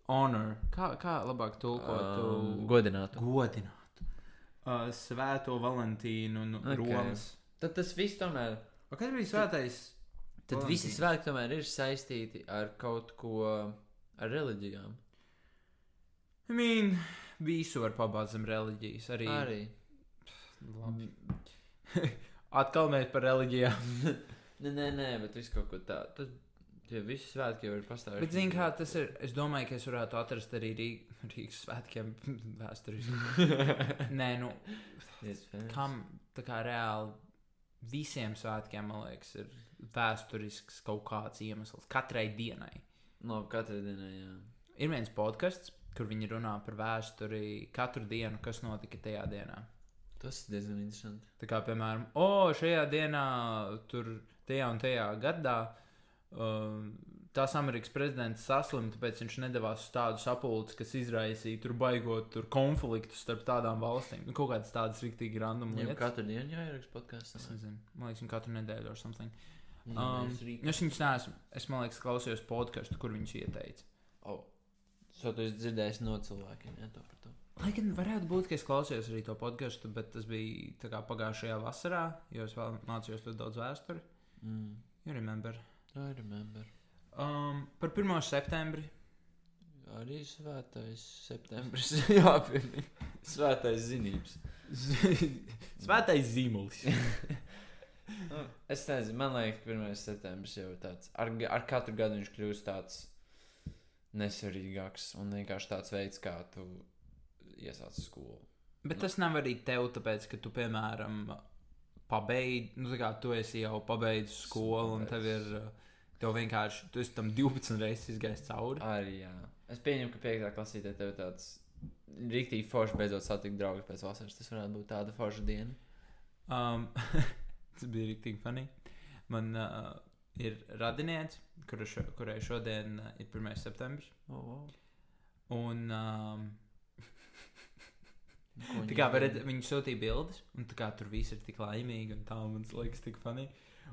honor, kā, kā labāk tulkotu
Um,
um,
godinātu.
godinātu. Uh, svēto Valentīnu no
Ok.
okay. Romas.
Tad tas viss tomēr.
O, Kas bija svētais?
Tad
Valentīns.
visi svētki tomēr ir saistīti ar kaut ko, ar reliģijām.
I mean, visu var pabāzt zem reliģijas. Arī.
Arī. Mm.
Labi. Atkal mēs par reliģijām.
Nē, nē, nē, bet viss kaut ko tādu. Tad tie visi svētki jau ir pastāvējuši.
Bet, zini, kā tas ir? Es domāju, ka es varētu atrast arī Rīg Rīgas svētkiem vēsturiski. Nē, nu,
Iespējams.
kam tā kā reāli visiem svētkiem, man liekas, ir vēsturisks kaut kāds iemesls. Katrai dienai.
No katra dienā, jā.
Ir viens podkāsts, kur viņi runā par vēsturi katru dienu, kas notika tajā dienā.
Tas ir diezgan interesanti.
Tā kā, piemēram, o, šajā dienā, tur, tajā un tajā gadā, um, tās Amerikas prezidents saslimta, tāpēc viņš nedavās uz tādu sapulci, kas izraisīja tur baigot tur konfliktu starp tādām valstīm. Nu, kaut kādas tādas rīktīgi random
Jau
lietas.
katru dienu jāieraksta podkāsts.
Es nezinu, man liekas, viņi katru nedēļu or something. Um,
Um,
es viņus neesmu, es man liekas, klausījos podkāstu, kur viņš ieteica.
oh. So tu esi dzirdējis no cilvēkiem, ja to par to.
Lai gan varētu būt, ka es klausījos arī to podkāstu, bet tas bija tā kā pagājušajā vasarā, jo es vēl mācījos ļoti daudz vēsturi.
Mm.
You remember?
I remember.
Um, par 1. septembri.
Arī svētais septembris jāpiemina. Svētais zinības.
Svētais zīmols.
Nu, Es nezinu, man liekas, ka 1. septembris jau ir tāds. Ar, ga- ar katru gadu viņš kļūst tāds nesvarīgāks un vienkārši tāds veids, kā tu iesāc skolu.
Bet tas nav arī tev, tāpēc, ka tu, piemēram, pabeidz, nu, tā kā tu esi jau pabeidzis skolu, un tev ir, uh, tev vienkārši, tu esi tam 12 reizes gājis cauri.
Arī jā. Es pieņemu, ka 5. klasē tev ir tāds rīktīgi forši beidzot satikt draugus pēc vasaras. Tas varētu būt tāda forša diena.
Um, tas bija rīktīgi funny. Man uh, ir radinieks, kuru šo, kurai šodien uh, ir 1. septembris.
Oh, wow.
Un um,
Nu, ko
tā
viņi
kā
dara?
varat, viņi sūtīja bildes, un tā kā tur viss ir tik laimīgi, un tā man liekas, tik funny.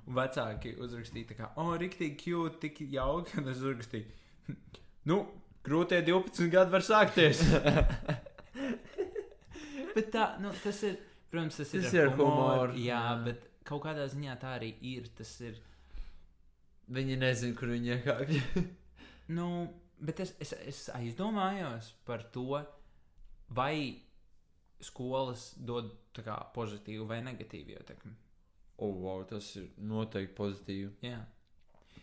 Un vecāki uzrakstīja, tā kā, oh, rīktīgi cute, tik jauki. Un es uzrakstīju, nu, grūtie 12 gadi var sākties. bet tā, nu, tas ir, protams, tas ir,
Tas
ar
ir ar humoru,
Jā,
jā.
bet kaut kādā ziņā tā arī ir. Tas ir,
Viņi nezina, kur viņi iekāpj.
nu, bet es, es, es aizdomājos par to, vai skolas dod tā kā pozitīvu vai negatīvu ietekmi.
oh, wow, tas ir noteikti pozitīvi.
Jā.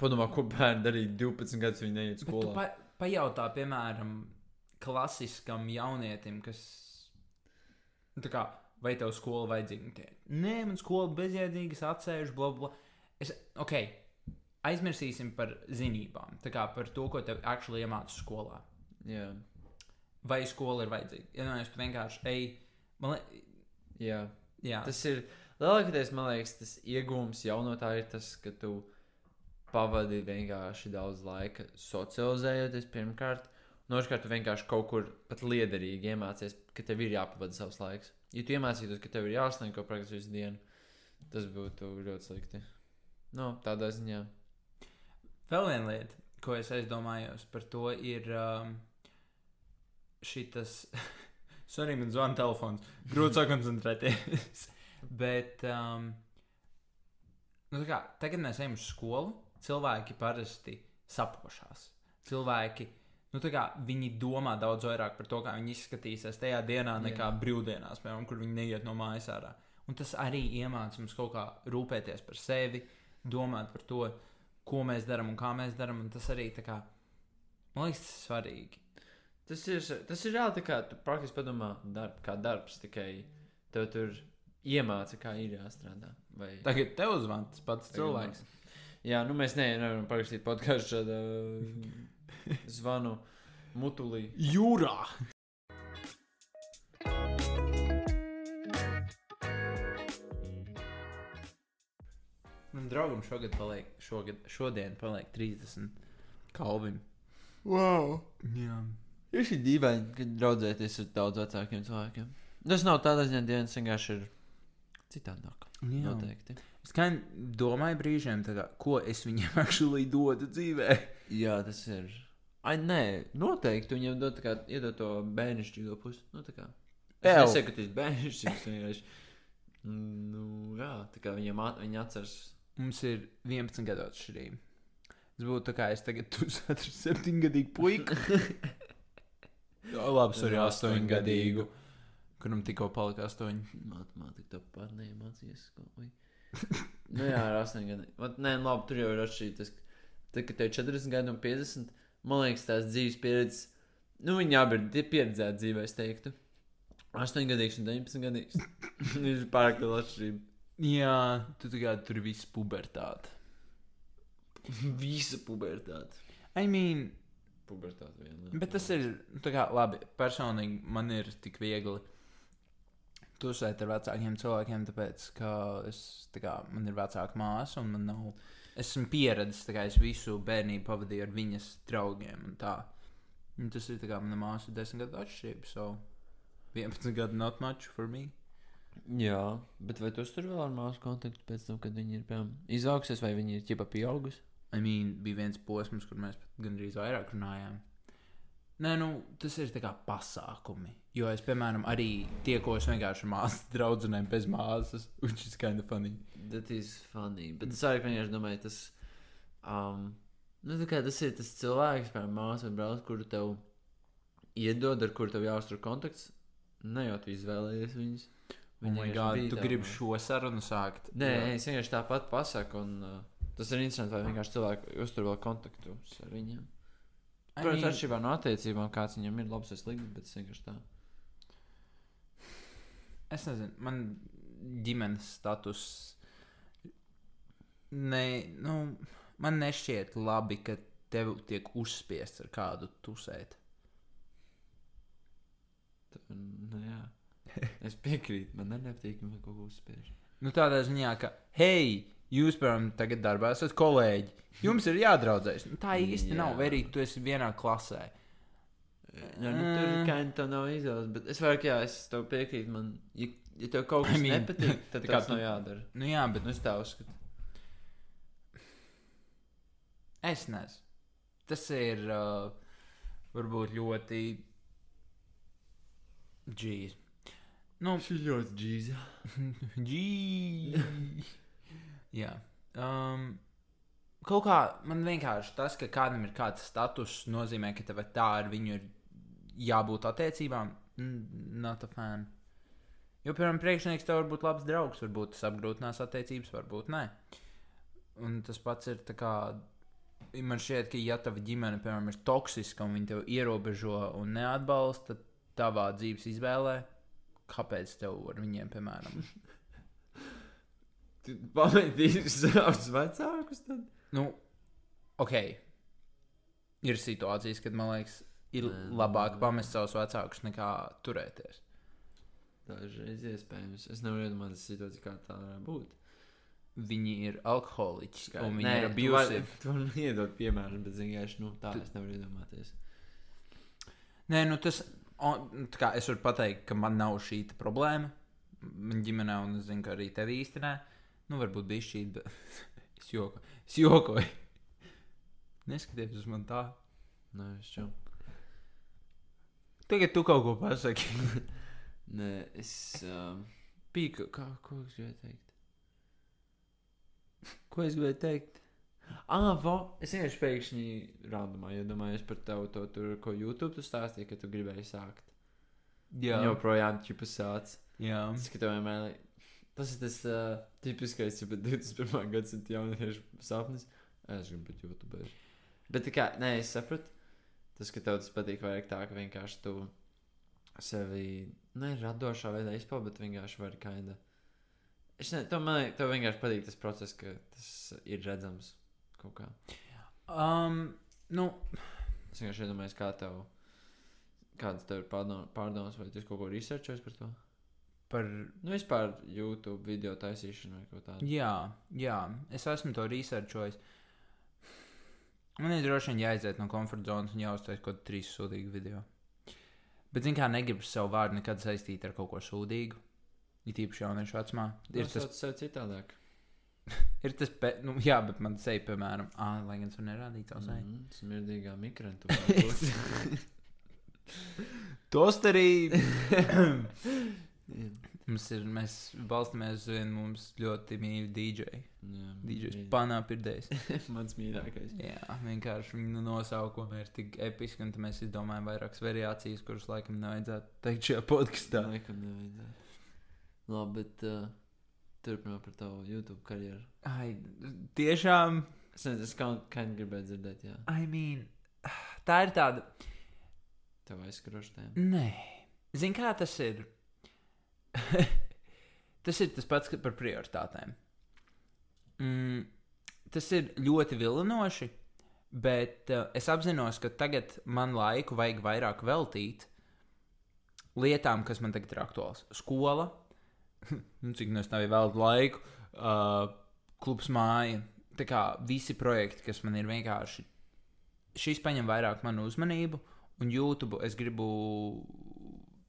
Padomā, ko bērni darīja 12 gadus, viņi neiet
Bet tu
skolā.
pa, pajautā, piemēram, klasiskam jaunietim, kas. nu, tā Kā, vai tev skola vajadzīga? Un tie, Nē, man skola bezjēdzīga, es atsēžu, bla, bla. Es, ok, aizmirsīsim par zinībām, tā kā par to, ko tev actually iemācīja skolā.
Jā,
Vai skola ir vajadzīga? Ja nē, es vienkārši eju. Man liekas,
jā.
jā, tas
Tas ir lielākoties, man liekas, tas iegūms jau no tā ir tas, ka tu pavadi vienkārši daudz laika socializējoties pirmkārt. un Otrkārt, tu vienkārši kaut kur pat liederīgi iemācies, ka tev ir jāpavada savs laiks. Ja tu iemācītos, ka tev ir jāsniedz kaut kas visu dienu, tas būtu ļoti slikti. No, tādā ziņā.
vēl viena lieta, ko es aizdomājos par to, ir um, šis. Sorry, man zvanīja telefons. Grūti sakoncentrēties. Bet, um, nu, tā kā tagad mēs ejam uz skolu, cilvēki parasti sapošās. Cilvēki, nu, tā kā viņi domā daudz vairāk par to, kā viņi izskatīsies tajā dienā, nekā brīvdienās, piemēram, kur viņi neiet no mājas ārā. Un tas arī iemācīja mums kaut kā rūpēties par sevi, domāt par to, ko mēs darām un kā mēs darām. Un Tas arī, tā kā, man liekas, tas ir svarīgi.
Tas ir, tas ir reāli tā kā tu praktiski padomā, darb, kā darbs, tikai tev tur iemāca, kā ir jāstrādā. Vai...
Tagad tev zvanīja tas pats
Tagad
cilvēks.
Jā, nu mēs ne, nevaram parakstīt podkāstu šādu zvanu mutulī.
Jūrā! Man draugam šogad paliek, šogad, šodien paliek 30 kalvim.
Wow!
Jā.
Ir šī dīvaini, ka draudzēties ar daudz vecākiem cilvēkiem. Tas nav tādā ziņā, ka viens vienkārši ir citādāk.
Jā.
Noteikti.
Es kā domāju brīžiem, tā kā, ko es viņiem actually dodu dzīvē.
Jā, tas ir. Ai, nē, noteikti viņam dod, tā kā, iedod to bērnišķīgo pusi. Nu, tā kā. Es
Ew.
nesaku, ka tas ir bērnišķīgs. vienkārši. Nu, jā, tā kā viņam at, viņa atceras.
Mums ir 11 gadu atšķirība. Es būtu tā kā es tagad esmu 7 gadīgu puiku. Jā, labi, es arī 8 gadīgu, kuram tikko palika 8.
Matemātika to pat neiemācījās. ko- vai? nu, jā, ar 8 gadiem. Vat, Nē, nu labi, tur jau ir atšķirīgs. Tad, kad tev ir 40 gadi un 50, man liekas, tās dzīves pieredzes, nu, viņi abi ir tie pieredzēti dzīvē, es teiktu. 8 gadīgs un 19 gadīgs. Ir pārāk liela atšķirība.
Jā, tu tā kā tur viss pubertāte.
Visa pubertāte.
I mean,
Pubertāte vienā.
bet tas ir, nu, tā kā, labi, personīgi man ir tik viegli tusēt ar vecākiem cilvēkiem, tāpēc, ka es, tā kā, man ir vecāka māsa un man nav, esmu pieredzis, tā kā es visu bērnību pavadīju ar viņas draugiem un tā. Un tas ir, tā kā, mana māsa ir desmit gadu atšķirība, so 11 gadu not much for me.
Jā, bet vai tu tur vēl ar māsu kontaktu pēc tam, kad viņi ir piemēram izaugusies, vai viņi ir ķipa pieaugusi?
I mean, bija viens posms, kur mēs pat gandrīz vairāk runājām. Nē, nu, tas ir tā kā pasākumi. Jo es, piemēram, arī tiekos vienkārši ar māsas draugiem bez māsas, which is kind of funny. Oh
That is funny. Bet es arī vienkārši domāju, tas. Um, nu, tā kā tas ir tas cilvēks, piemēram, māsu vai brālis, kuru tev iedod, ar kuru tev jāuztur kontakts. Ne jau tu izvēlējies viņus.
Oh my
vienkārši
god,
bija
tu
tā,
gribi
vai?
šo sarunu sākt?
Nē, es vienkārši tāpat pasaku. Un, uh, tas ir interesanti, vai vienkārši cilvēki uztur vēl kontaktus ar viņiem.
I
Protams,
mean,
atšķirībā no attiecībām, kāds viņam ir labs vai slikts, bet es vienkārši tā.
es nezinu, man ģimenes status. Ne, nu, man nešķiet labi, ka tev tiek uzspiests ar kādu tusēt.
Tu- Nu, jā. Es piekrītu, man nepatīk, ka kaut ko uzspiež.
Nu, tādā ziņā, ka, hei, jūs, piemēram, tagad darbā esat kolēģi. Jums ir jādraudzējas. Nu, tā īsti
Jā.
nav. Vai arī tu esi vienā klasē?
Jā, nu, tur
Mm.
kā tā nav izvēles, bet es vairāk, jā, es tev piekrītu. Man, ja, ja tev kaut
I
kas I
mean,
mean, nepatīk, tad
tā kā
tas
tu-
nav jādara.
Nu, jā, bet
Nu, es tā uzskatu.
es nezinu. Tas ir uh, varbūt ļoti. Džīs. Nu,
Šis ļoti džīzs.
Džī. Jā. Um, kaut kā man vienkārši tas, ka kādam ir kāds status, nozīmē, ka tev tā ar viņu ir jābūt attiecībām. Not a fan. Jo, piemēram, priekšnieks tev var būt labs draugs, varbūt tas apgrūtinās attiecības, varbūt nē. Un tas pats ir tā kā. Man šķiet, ka, ja tava ģimene, piemēram, ir toksiska un viņa tev ierobežo un neatbalsta tavā dzīves izvēlē, kāpēc tev ar viņiem, piemēram,
Tu pametīsi savus vecākus. Tad?
Nu, ok. Ir situācijas, kad man liekas, ir
Nē,
labāk
nē.
pamest savus vecākus nekā turēties.
Dažreiz iespējams. Es nevaru iedomāties situāciju, kā tā varētu būt.
Viņi ir alkoholiķi, un viņi
Nē,
ir
tu vari-
abusive.
Tu vari man iedot piemēru, bet es vienkārši nu, tā
Tu-
es nevaru iedomāties.
Nē, nu tas, o, nu, tā kā es varu pateikt, ka man nav šī te problēma. Man ģimenē, un es zinu, ka arī tev īstenē, nu, varbūt bija šī, bet es jokoju. Es jokoju. Neskaties uz mani tā.
Nē, Nu, es čau.
Tagad tu kaut ko pasaki.
Nē, es um, biju kā, ko es gribēju teikt. Ko es gribēju teikt? Ah, va, es vienkārši pēkšņi randumā iedomājos par tevu to, tur, ko YouTube tu stāstīji, ka tu gribēji sākt.
Jā,
Un Joprojām čipa sāc.
jā.
Tas, ka tev vienmēr liek- tas ir tas uh, tipiskais, ja 21. gadsimta jauniešu sapnis. Es gribu būt YouTube. Bet tā kā, nē, es sapratu, tas, ka tev tas patīk vairāk tā, ka vienkārši tu sevi, ne radošā veidā izpaudi, bet vienkārši var kaida. Es nezinu, tev, man liekas, tev vienkārši patīk tas process, ka tas ir redzams kaut kā.
Um, nu,
Es vienkārši iedomājos, kā tev, kādas tev ir pārdom- pārdomas, vai tu esi kaut ko researchējis par to.
par
Nu, vispār YouTube video taisīšana vai kaut kā tāda.
Jā, jā, es esmu to researchojis. Man ir droši vien jāiziet no komforta zonas un jāuztais kaut kāda trīs sūdīga video. Bet, zināmā mērā, negribu savu vārdu nekad saistīt ar kaut ko sūdīgu. Ir tīpaši jauniešu vecumā. Ir tas,
Nosauc sev citādāk.
ir tas, pe... nu, jā, bet man seja, piemēram, ah, lai gan es nerādīju to seju.
Mhm, Smirdīgā migrantu.
Tos arī. mums ir, mēs balstamies uz vienu mums ļoti mīļu DJ. DJ panā pirdējis.
Mans mīļākais.
Jā, vienkārši nu viņa nosaukuma ir tik episka, un tad mēs izdomājām vairākas variācijas, kuras laikam nevajadzētu teikt šajā podkāstā.
Tā nekam nevajadzētu. Labi, bet uh, turpinām par tavu YouTube karjeru.
Ai, tiešām,
Es nezinu, es kā kā gribēju dzirdēt, jā.
I mean, tā ir tāda.
Tev aizskrošu tēmu.
Nē, zini, kā tas ir. tas ir tas pats ka par prioritātēm. Mm, tas ir ļoti vilinoši, bet uh, es apzinos, ka tagad man laiku vajag vairāk veltīt lietām, kas man tagad ir aktuāls. Skola, nu, cik no es tev veltu laiku, uh, klubs māja. Tā kā visi projekti, kas man ir vienkārši, šis paņem vairāk manu uzmanību, un YouTube es gribu,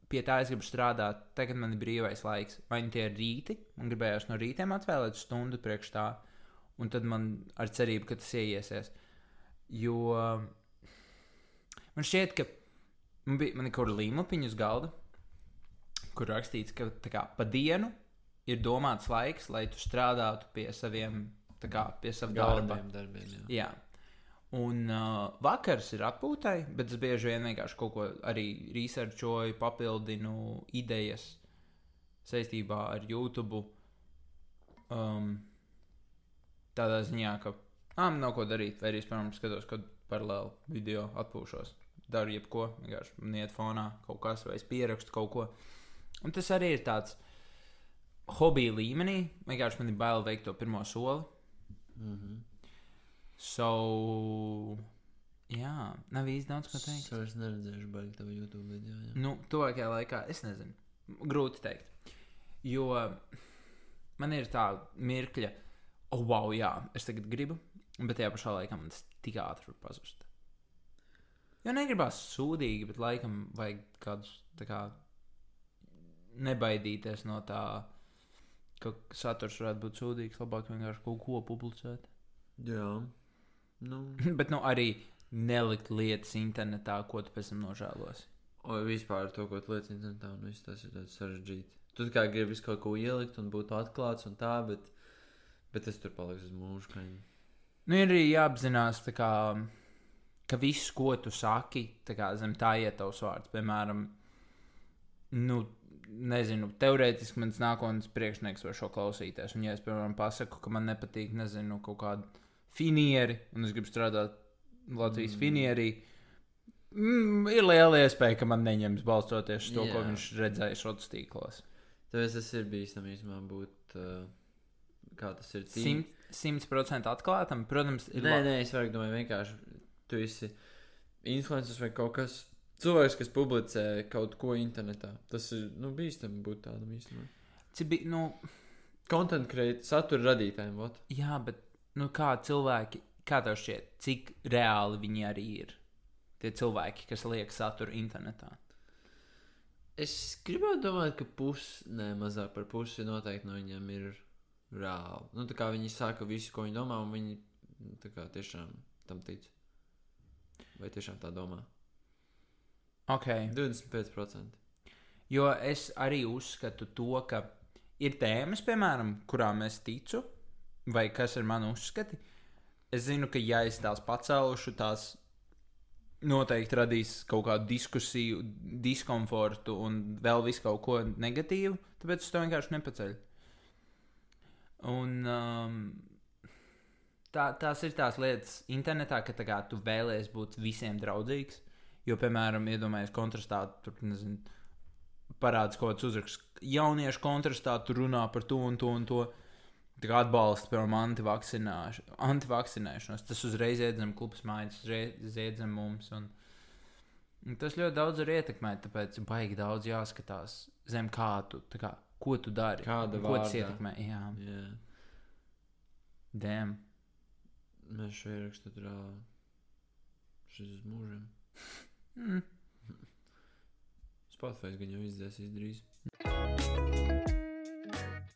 pie tā es gribu strādāt. Tagad man ir brīvais laiks, vai nu tie ir rīti, man gribējās no rītiem atvēlēt stundu priekš tā, un tad man ar cerību, ka tas ieiesies. Jo man šķiet, ka man bija man ir kaut kāda līnija uz galda, kur rakstīts, ka tā kā, pa dienu ir domāts laiks, lai tu strādātu pie saviem, tā kā pie sava Mm, darba.
Galvenajiem darbiem, jā.
Jā. Un uh, vakars ir atpūtai, bet es bieži vien vienkārši kaut ko arī researchoju, papildinu idejas saistībā ar YouTube. Um, tādā ziņā, ka ah, man nav ko darīt, vai arī es, piemēram, skatos kādu paralēlu video, atpūšos. Daru jebko, vienkārši man iet fonā kaut kas, vai es pierakstu kaut ko. Un tas arī ir tāds, hobija līmenī vienkārši man ir bail veikt to pirmo soli.
Mhm.
So, jā, nav īsti daudz ko teikt.
Es vairs neredzēju, baigi tavu YouTube video. jā.
Nu, tuvākajā laikā es nezinu. Grūti pateikt. Jo man ir tā mirkļa, oh, wow, jā, es tagad gribu, bet tajā pašā laikā man tas tik ātri var pazust. Jo negribās sūdīgi, bet laikam vajag kādus tā kā nebaidīties no tā, ka saturs varētu būt sūdīgs. Labāk vienkārši kaut ko publicēt.
Jā. Nu,
bet nu arī nelikt lietas internetā, ko tu pēc tam nožēlosi.
O, vispār ar to, ko tu lieci internetā, un nu, viss tas ir tāds sarežģīti. Tu tā kā gribi visu kaut ko ielikt un būt atklāts un tā, bet, bet tas tur paliks uz mūžu. Ka...
Nu, ir arī jāapzinās, tā kā, ka viss, ko tu saki, tā kā, zem tā iet tavs vārds. Piemēram, nu, nezinu, teorētiski mans nākotnes priekšnieks var šo klausīties. Un, ja es, piemēram, pasaku, ka man nepatīk, nezinu, kaut kāda finieri, un es gribu strādāt Latvijas mm. finierī, mm, ir liela iespēja, ka man neņems balstoties uz to, yeah. ko
Jā.
viņš redzēja šādos tīklos.
Tāpēc tas ir bijis tam īstenībā būt, uh, kā tas ir. tī-
Simt- Simts procentu atklātam, protams, ir
Nē,
labi.
nē, es vairāk domāju, vienkārši tu esi influenceris vai kaut kas. Cilvēks, kas publicē kaut ko internetā, tas ir nu, bīstami būt tādam īstenībā.
Ci bi- Nu,
Content creator, satura radītājiem, vot.
jā, bet nu, kā cilvēki, kā tev šķiet, cik reāli viņi arī ir? Tie cilvēki, kas liek saturu internetā.
Es gribētu domāt, ka pusi, nē, mazāk par pusi noteikti no viņiem ir reāli. Nu, tā kā viņi saka visu, ko viņi domā, un viņi nu, tā kā tiešām tam tic. Vai tiešām tā domā?
Okay.
25%.
Jo es arī uzskatu to, ka ir tēmas, piemēram, kurām es ticu, vai kas ir mani uzskati. Es zinu, ka ja es tās pacelšu, tās noteikti radīs kaut kādu diskusiju, diskomfortu un vēl visu kaut ko negatīvu, tāpēc es to vienkārši nepaceļu. Un um, tā, tās ir tās lietas internetā, ka tā kā tu vēlēsies būt visiem draudzīgs. Jo, piemēram, iedomājieties, kontrastā tur nezinu, parādās kaut kāds uzraksts. Jauniešu kontrastā tur runā par to un to un to. Tā kā atbalsta, piemēram, antivakcinēš- antivakcinēšanos. Tas uzreiz iedzem klubs mājas, uzreiz iedzem mums. Un... un Tas ļoti daudz ir ietekmēt, tāpēc baigi daudz jāskatās zem kā tu, tā kā, ko tu dari.
Kāda
un ko tas
vārdā.
ietekmē? Jā,
Jā,
dēm.
mēs šo ierakstu tur ā, šis uz mūžiem.
Mm.
Spotify gan jau izdzēsīs drīz.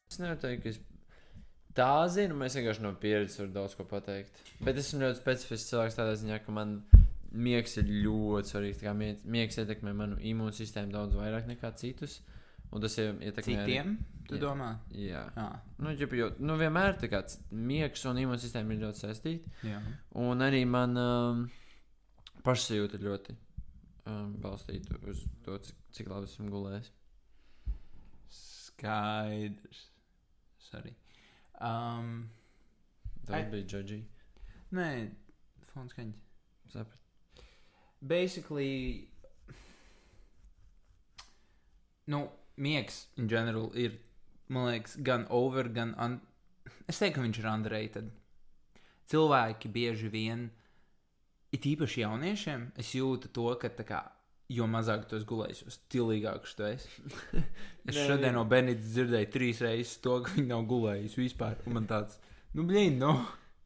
Es neteiktu, ka es tā zinu, mēs vienkārši no pieredzes varam daudz ko pateikt. Bet esmu ļoti specifisks cilvēks tādā ziņā, ka man miegs ir ļoti svarīgs. Tā kā mie- Miegs ietekmē manu imūnsistēmu daudz vairāk nekā citus. Un tas ie- ietekmē arī-
Citiem, tu
Jā.
domā?
Jā,
Jā,
nu, ģip, jo, nu vienmēr tā kā c- miegs un imūnsistēma ir ļoti saistīti.
jā.
Un arī man um, pašsajūta ļoti um, balstīta uz to, cik, cik labi esmu gulējis.
skaidrs. Sorry. Um,
Tas
Ai.
bija džudži.
nē, fons kaņģis.
Sapratu.
basically, nu, miegs in general ir, man liekas, gan over, gan. Un... Es teiktu, ka viņš ir underrated. Cilvēki bieži vien, it īpaši jauniešiem, es jūtu to, ka tā kā. Jo mazāk tu esi gulējis, jo stilīgāks tu esi.
Nē,
Es šodien
nē.
no Benita dzirdēju trīs reizes to, ka viņi nav gulējuši vispār. Un man tāds, nu, blīni, no.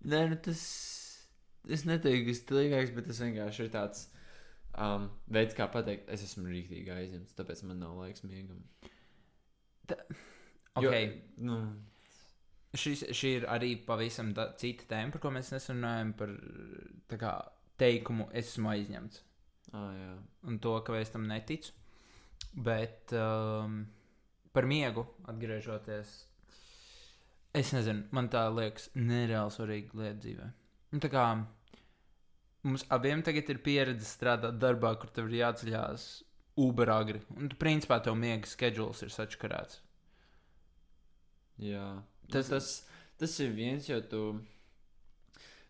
Nē, nu tas. Es neteiktu, ka tas ir stilīgāks, bet tas vienkārši ir tāds um, veids, kā pateikt, es esmu rīktīgi aizņemts, tāpēc man nav laiks miegam.
Okay.
Jo, nu,
šis, šī ir arī pavisam da, cita tēma, par ko mēs nesunājam, par tā kā, teikumu es esmu aizņemts
ah, jā.
un to, ka es tam neticu. Bet um, par miegu atgriežoties, es nezinu, man tā liekas nereāli svarīga lieta dzīvē. Nu, tā kā mums abiem tagad ir pieredze strādāt darbā, kur tev ir jāceļās uber agri, un tu principā tev miega schedules ir sačkarēts.
jā.
Mhm.
Tas, tas, tas ir viens, jo tu.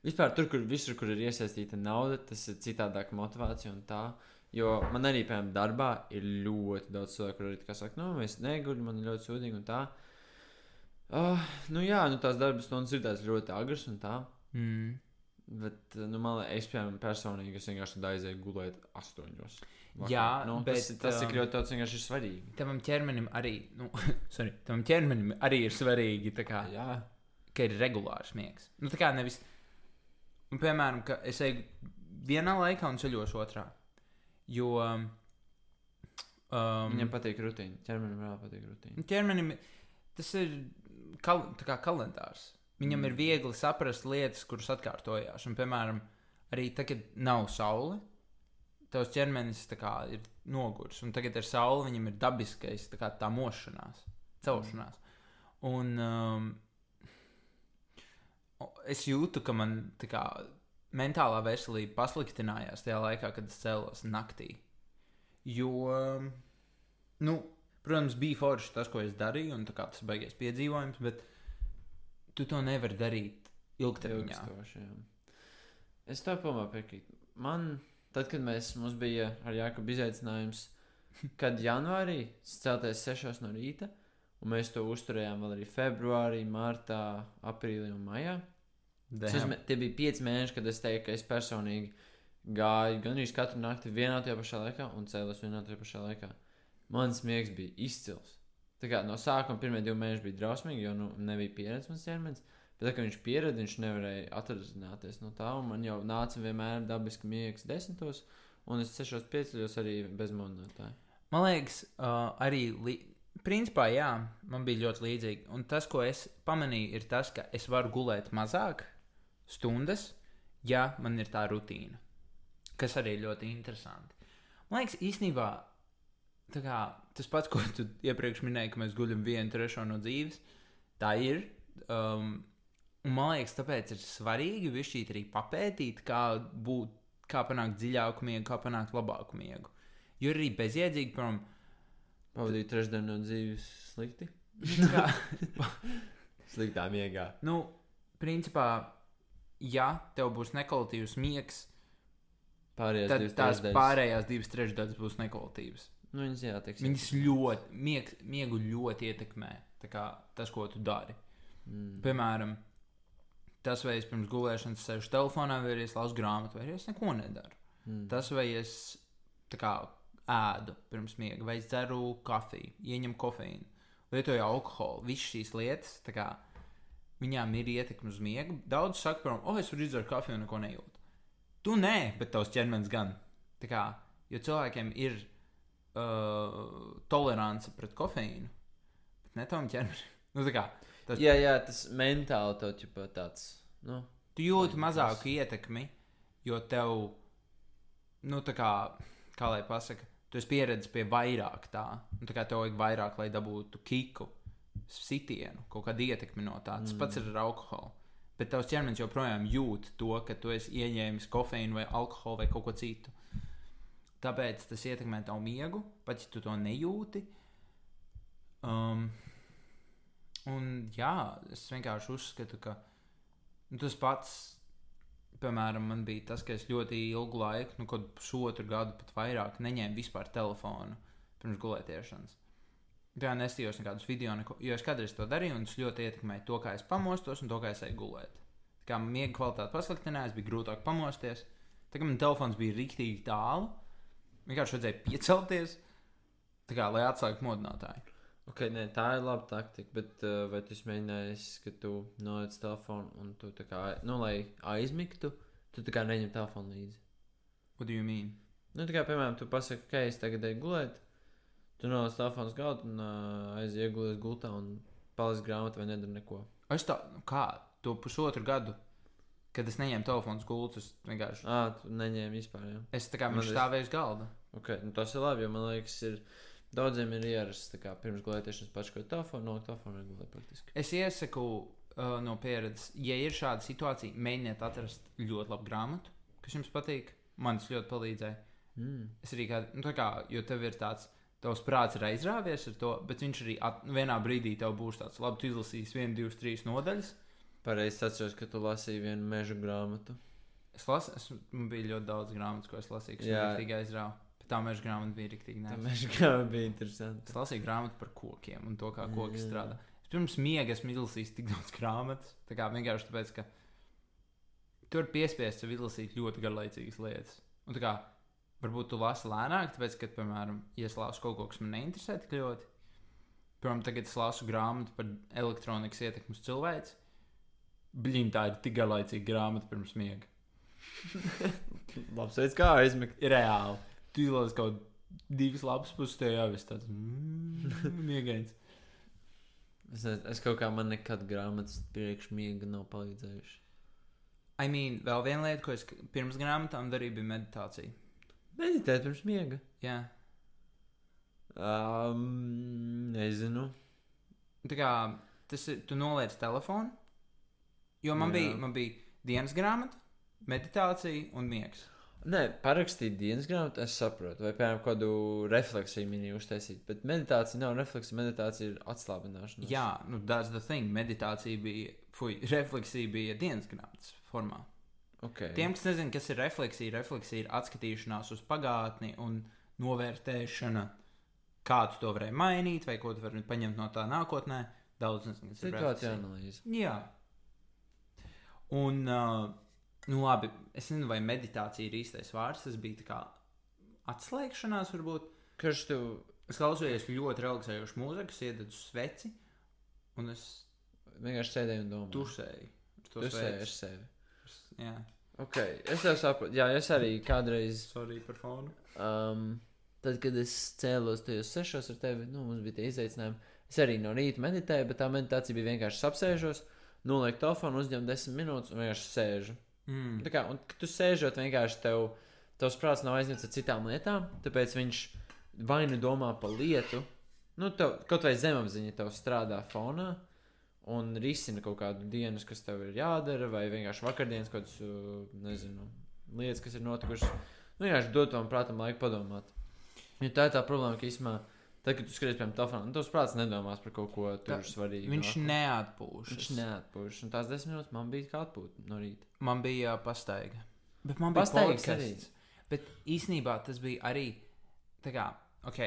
Vispār tur, kur visur, kur ir iesaistīta nauda, tas ir citādāk motivācija un tā. Jo man arī, piemēram, darbā ir ļoti daudz cilvēku, kuriem ir tā kā saka, nu, es neguļu, man ir ļoti sūdīgi un tā. Uh, nu jā, nu tās darba stundas ir tās ļoti agras un tā.
Mm.
Bet, uh, nu, man liekas, es piemēram, personīgi es vienkārši tad aizēju gulēt astoņos. vakarā.
Jā,
nu,
bet,
tas, tas
um,
ir ļoti daudz vienkārši svarīgi.
Tavam ķermenim arī, nu, sorry, tavam ķermenim arī ir svarīgi, tā kā,
Jā,
ka ir regulārs miegs. Nu, tā kā nevis, nu, piemēram, ka es eju vienā laikā un ceļošu otrā. Jo um,
viņam patīk rutīna. Ķermenim reāli patīk rutīna.
Nu, Ķermenim tas ir kal tā kā kalendārs. Viņam ir
Mm.
viegli saprast lietas, kuras atkārtojās. Un, piemēram, arī tagad, kad nav saule, tavs ķermenis tā kā ir noguris. Un tagad ar sauli viņam ir dabiskais tā, kā, tā mošanās, celšanās. Un um, o- es jūtu, ka man tā kā mentālā veselība pasliktinājās tajā laikā, kad es cēlos naktī. Jo, um, nu, protams, bija forši tas, ko es darīju, un tā kā tas baigies piedzīvojums, bet tu to nevari darīt ilgtermiņā.
Ilgstoši, jā. Es tev pilnībā piekrītu. Man, tad, kad mēs, mums bija ar Jākubu izaicinājums, kad janvārī celties 6 no rīta, un mēs to uzturējām vēl arī februārī, martā, aprīlī un maijā. Tas
Damn.
uzmē- Tie bija 5 mēneši, kad es teicu, ka es personīgi gāju gandrīz katru nakti vienā tajā pašā laikā un cēlos vienā tajā pašā laikā. Mans miegs bija izcils. Tā kā no sākuma pirmie divi mēneši bija drausmīgi, jo nu, nebija pieredzes mans ķermenis. Bet, tā, kad viņš pieredzēja, viņš nevarēja atraisināties no tā. un Man jau nāca vienmēr dabiski miegs desmitos, un es sešos piecos arī bez monētas.
Man liekas, uh, arī li... principā, jā, man bija ļoti līdzīgi. Un tas, ko es pamanīju, ir tas, ka es varu gulēt mazāk stundas, ja man ir tā rutīna. Kas arī ir ļoti interesanti. Man liekas, īstenībā tā kā, tas pats, ko tu iepriekš minēji, ka mēs guļam vienu trešo no dzīves, tā ir. Um, un man liekas, tāpēc ir svarīgi višķīt arī papētīt, kā būt, kā panākt dziļāku miegu, kā panākt labāku miegu. Jo ir arī bezjēdzīgi, piemēram,
Pavadīju trešdienu no dzīves slikti.
kā,
Sliktā miegā.
nu, principā, ja tev būs nekvalitatīvs miegs,
Pārējās
tad
divas
tās
trešdaļas-
pārējās divas trešdaļas būs nekvalitatīvas.
Nu, viņas jā, tiks.
Viņas ļoti, mieg, miegu ļoti ietekmē tā kā, tas, ko tu dari.
Mm.
Piemēram, tas, vai es pirms gulēšanas sēžu telefonā, vai arī es lasu grāmatu, vai arī es neko nedaru.
Mm.
Tas, vai es tā kā ēdu pirms miega, vai es dzeru kafiju, ieņemu kofeīnu, lietoju alkoholu, visas šīs lietas, tā kā, viņām ir ietekme uz miegu. Daudz saka, piemēram, oh, es varu izdzert kafiju un neko nejūtu. Tu nē, bet tavs ķermenis gan. Tā Kā, jo cilvēkiem ir uh, tolerance pret kofeīnu, bet ne tavam ķermenim. Nu, tā kā, tas-
Jā, jā, tas mentāli tev jau tāds. Nu,
tu jūti
Vai
mazāku ietekmi, jo tev, nu, tā kā, kā lai pasakā, tu esi pieredzējis pie vairāk tā. Nu, tā kā tev vajag vairāk, lai dabūtu kiku, sitienu, kaut kādu ietekmi no tā. Tas mm. pats ir ar alkoholu. Bet tavs ķermenis joprojām jūt to, ka tu esi ieņēmis kofeīnu vai alkoholu vai kaut ko citu. Tāpēc tas ietekmē tavu miegu, pat ja tu to nejūti. Um, un jā, es vienkārši uzskatu, ka Nu, Tas pats, piemēram, man bija tas, ka es ļoti ilgu laiku, nu, kaut pusotru gadu pat vairāk, neņēmu vispār telefonu pirms gulētiešanas. Jā, nestījos nekādus video, neko, jo es kādreiz to darīju, un tas ļoti ietekmēja to, kā es pamostos un to, kā es eju gulēt. Tā kā miega kvalitāte pasliktinājās, bija grūtāk pamosties. Tagad man telefons bija rīktīgi tālu. Vienkārši vajadzēja piecelties, tā kā, lai atsāktu modinātāju.
okay, nē, tā ir laba taktika, bet uh, vai tu esi mēģinājis, ka tu noliec telefonu un tu tā kā, nu, lai aizmigtu, tu tā kā neņem telefonu līdzi.
What do you mean?
Nu, tā kā, piemēram, tu pasaki, ka es tagad eju gulēt, tu noliec telefonu uz galda un uh, aizies gulēt gultā un palas grāmatu vai nedara neko.
Es tā, nu kā, to pusotru gadu, kad es neņēmu telefonu gultus, vienkārši.
Ā, tu neņēmi vispār, jā.
Es tā kā
Man
viņš
tas-
stāvēja uz galda.
Okay, nu tas ir labi, jo man liekas, ir, daudziem ir ierasts, tā kā pirms gulētiešanas paškot telefonu, no telefona regulē praktiski.
Es iesaku uh, no pieredzes, ja ir šāda situācija, mēģiniet atrast ļoti labu grāmatu, kas jums patīk. Man tas ļoti palīdzēja.
Mm.
Es arī kādā, nu tā kā, jo tev ir tāds, tavs prāts ir aizrāvies ar to, bet viņš arī at, vienā brīdī tev būs tāds, labi, tu izlasīsi vienu, divas, trīs nodaļas.
Pareizi atceros, ka tu lasīji vienu meža grāmatu.
Es lasu, es, man bija ļoti daudz grāmatas, ko es lasīju, kas
Jā.
man tikai aizrāva. Bet tā meža grāmata bija rīktīgi
Tā
nē.
meža grāmata bija interesanta.
Es lasīju grāmatu par kokiem un to, kā koki
Mm.
strādā. Es Pirms miega esmu izlasījis tik daudz grāmatas. Tā kā vienkārši tāpēc, ka tur piespiest sev izlasīt ļoti garlaicīgas lietas. Un tā kā varbūt tu lasi lēnāk, tāpēc, ka, piemēram, ja es lasu kaut ko, kas man neinteresē tik ļoti, piemēram, tagad es lasu grāmatu par elektronikas ietekmi uz cilvēku. Blin, tā ir tik garlaicīga grāmata pirms miega.
Labs veids, kā aizmigt.
Reāli. Tu izlasi kaut divas lapas puses, tev jau viss tāds mm, miegains.
Es, ne- es kaut kā man nekad grāmatas priekšmiega nav palīdzējuši.
I mean, vēl viena lieta, ko es k- pirms grāmatām darīju, bija meditācija.
Meditēt pirms miega.
Jā,
Um, nezinu.
tā kā tas ir, tu noliec telefonu, jo man
Jā.
bija, man bija dienas grāmata, meditācija un miegs.
Nē, parakstīt dienas grāmatu, es saprotu. Vai, piemēram, kādu refleksiju minēju uztaisīt. Bet meditācija nav refleksija, meditācija ir atslābināšana.
Jā, nu, that's the thing. Meditācija bija, fuj, refleksija bija dienas grāmatas formā.
okay.
Tiem, kas nezina, kas ir refleksija, refleksija ir atskatīšanās uz pagātni un novērtēšana, kā tu to varēji mainīt, vai ko tu vari paņemt no tā nākotnē. Daudz nezinu, kas ir
situācija
refleksija.
analīze.
Jā. Un, uh, nu labi, es nezinu, vai meditācija ir īstais vārds. Tas bija tā kā atslēgšanās, varbūt.
Kurš tu
Es klausījos ļoti relaksējošu mūziku, es iededu sveci, un es
vienkārši sēdēji un domāji?
tusēju. uz to
tu sēdi ar
sveci.
sevi.
Jā,
Okay. Es jau saprotu, jā, es arī kādreiz
sorry par fonu.
Um, tad, kad es cēlos tajos sešos ar tevi, nu, mums bija tie izaicinājumi. Es arī no rīta meditēju, bet tā meditācija bija vienkārši apsēžos, nolieku telefonu, uzņemu desmit minūtes un vienkārši sēžu.
Mm.
Tā kā, un kad tu sēžot, vienkārši tev, tavs prāts nav aizņemts ar citām lietām, tāpēc viņš vai nu domā par lietu, nu, tev, kaut vai zemapziņa tev strādā fonā. Un risina kaut kādu dienu, kas tev ir jādara, vai vienkārši vakardienas kaut kādas uh, lietas, kas ir notikušas. Nu, vienkārši dod tam prātam laiku padomāt. Jo tā ir tā problēma, ka īstenībā, tad, kad tu skaties pie tālruņa, nu, tavs prāts nedomās par kaut ko
Tā-
tur svarīgu.
Viņš neatpūšas.
Viņš neatpūšas. Un tās desmit minūtes man bija kā atpūta no rīta.
Man bija uh, pastaiga. Bet man bija
Pastaigas
pastaigas arī. Bet īsnībā tas bija arī. Tā kā, ok.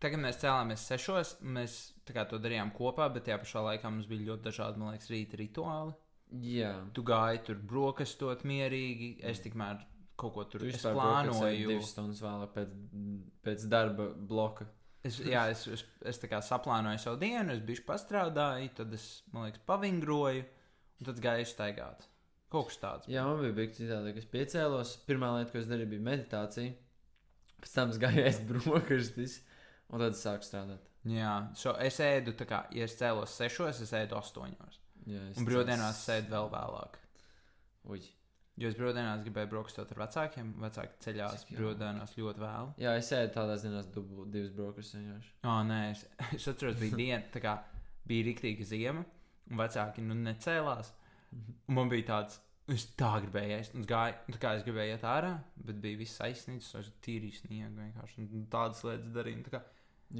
Tagad mēs cēlāmies sešos, mēs tā kā to darījām kopā, bet tajā pašā laikā mums bija ļoti dažādi, man liekas, rīta rituāli.
Jā,
Tu gāji tur brokastot mierīgi, es tikmēr kaut ko tur
tu
es
vispār
plānoju.
plānoji divas stundas vēlāk pēc, pēc darba bloka.
Es, jā, es, es, es tā kā saplānoju savu dienu, es biju strādājis, tad es, man liekas, pavingroju, un tad gāju staigāt. Kaut kas tāds.
Jā, man bija bijis citādi, ka es piecēlos. Pirmā lieta, ko es darīju, bija meditācija. Pēc tam es gāju aiz brokastis, un tad es sāku strādāt.
Jā, so es ēdu, tā kā, ja es cēlos sešos, es ēdu astoņos.
Jā, es
Un brīvdienās es ēdu vēl vēlāk.
Uģi.
Jo es brīvdienās gribēju brokastot ar vecākiem, vecāki ceļās
Cik jauki.
brīvdienās ļoti vēlu.
Jā, es sēdu tādās dienās, dublu, divas brokeris vienkārši.
Ā, nē, es, es atceros, bija diena, tā kā bija riktīga ziema, un vecāki nu necēlās. Un man bija tāds, es tā gribēju ēst, un es gāju, un tā kā es gribēju iet ārā, bet bija viss aizsniedzis, un es tīri sniegu vienkārši, un tādas lietas darīju. un tā kā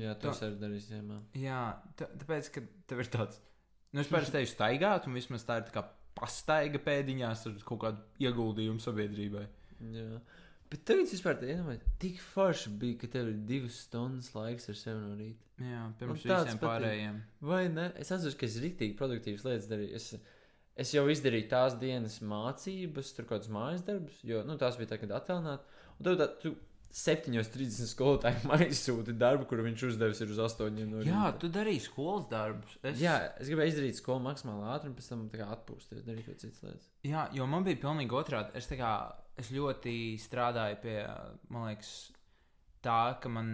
Jā,
Tā.
to es arī darīju ziemā.
Jā, tā, tāpēc, ka tev ir tāds, nu, es parasti teiktu, staigāt, un vismaz tā ir tā kā pastaiga pēdiņās ar kaut kādu ieguldījumu sabiedrībai.
Jā. Bet tev tas vispār tā iedomājas, tik forši bija, ka tev ir divas stundas laiks ar sevi no rīta.
Jā, pirms
tāds
visiem
patīk.
pārējiem.
Vai ne? Es atceros, ka es rītīgi produktīvas lietas darīju. Es, es jau izdarīju tās dienas mācības, tur kaut kādas mājas darbus, jo nu, tās bija tagad attēlināts. Un tev tā, tu 7.30 skolotājiem aizsūti darbu, kuru viņš uzdevis ir uz 8.00 no
Jā,
rīta.
tu darīji skolas darbus. Es...
Jā, es gribēju izdarīt skolu maksimāli ātri, un pēc tam tā kā atpūsties, darīt kaut citas lietas.
Jā, jo man bija pilnīgi otrādi. Es, tā kā, es ļoti strādāju pie man liekas, tā, ka man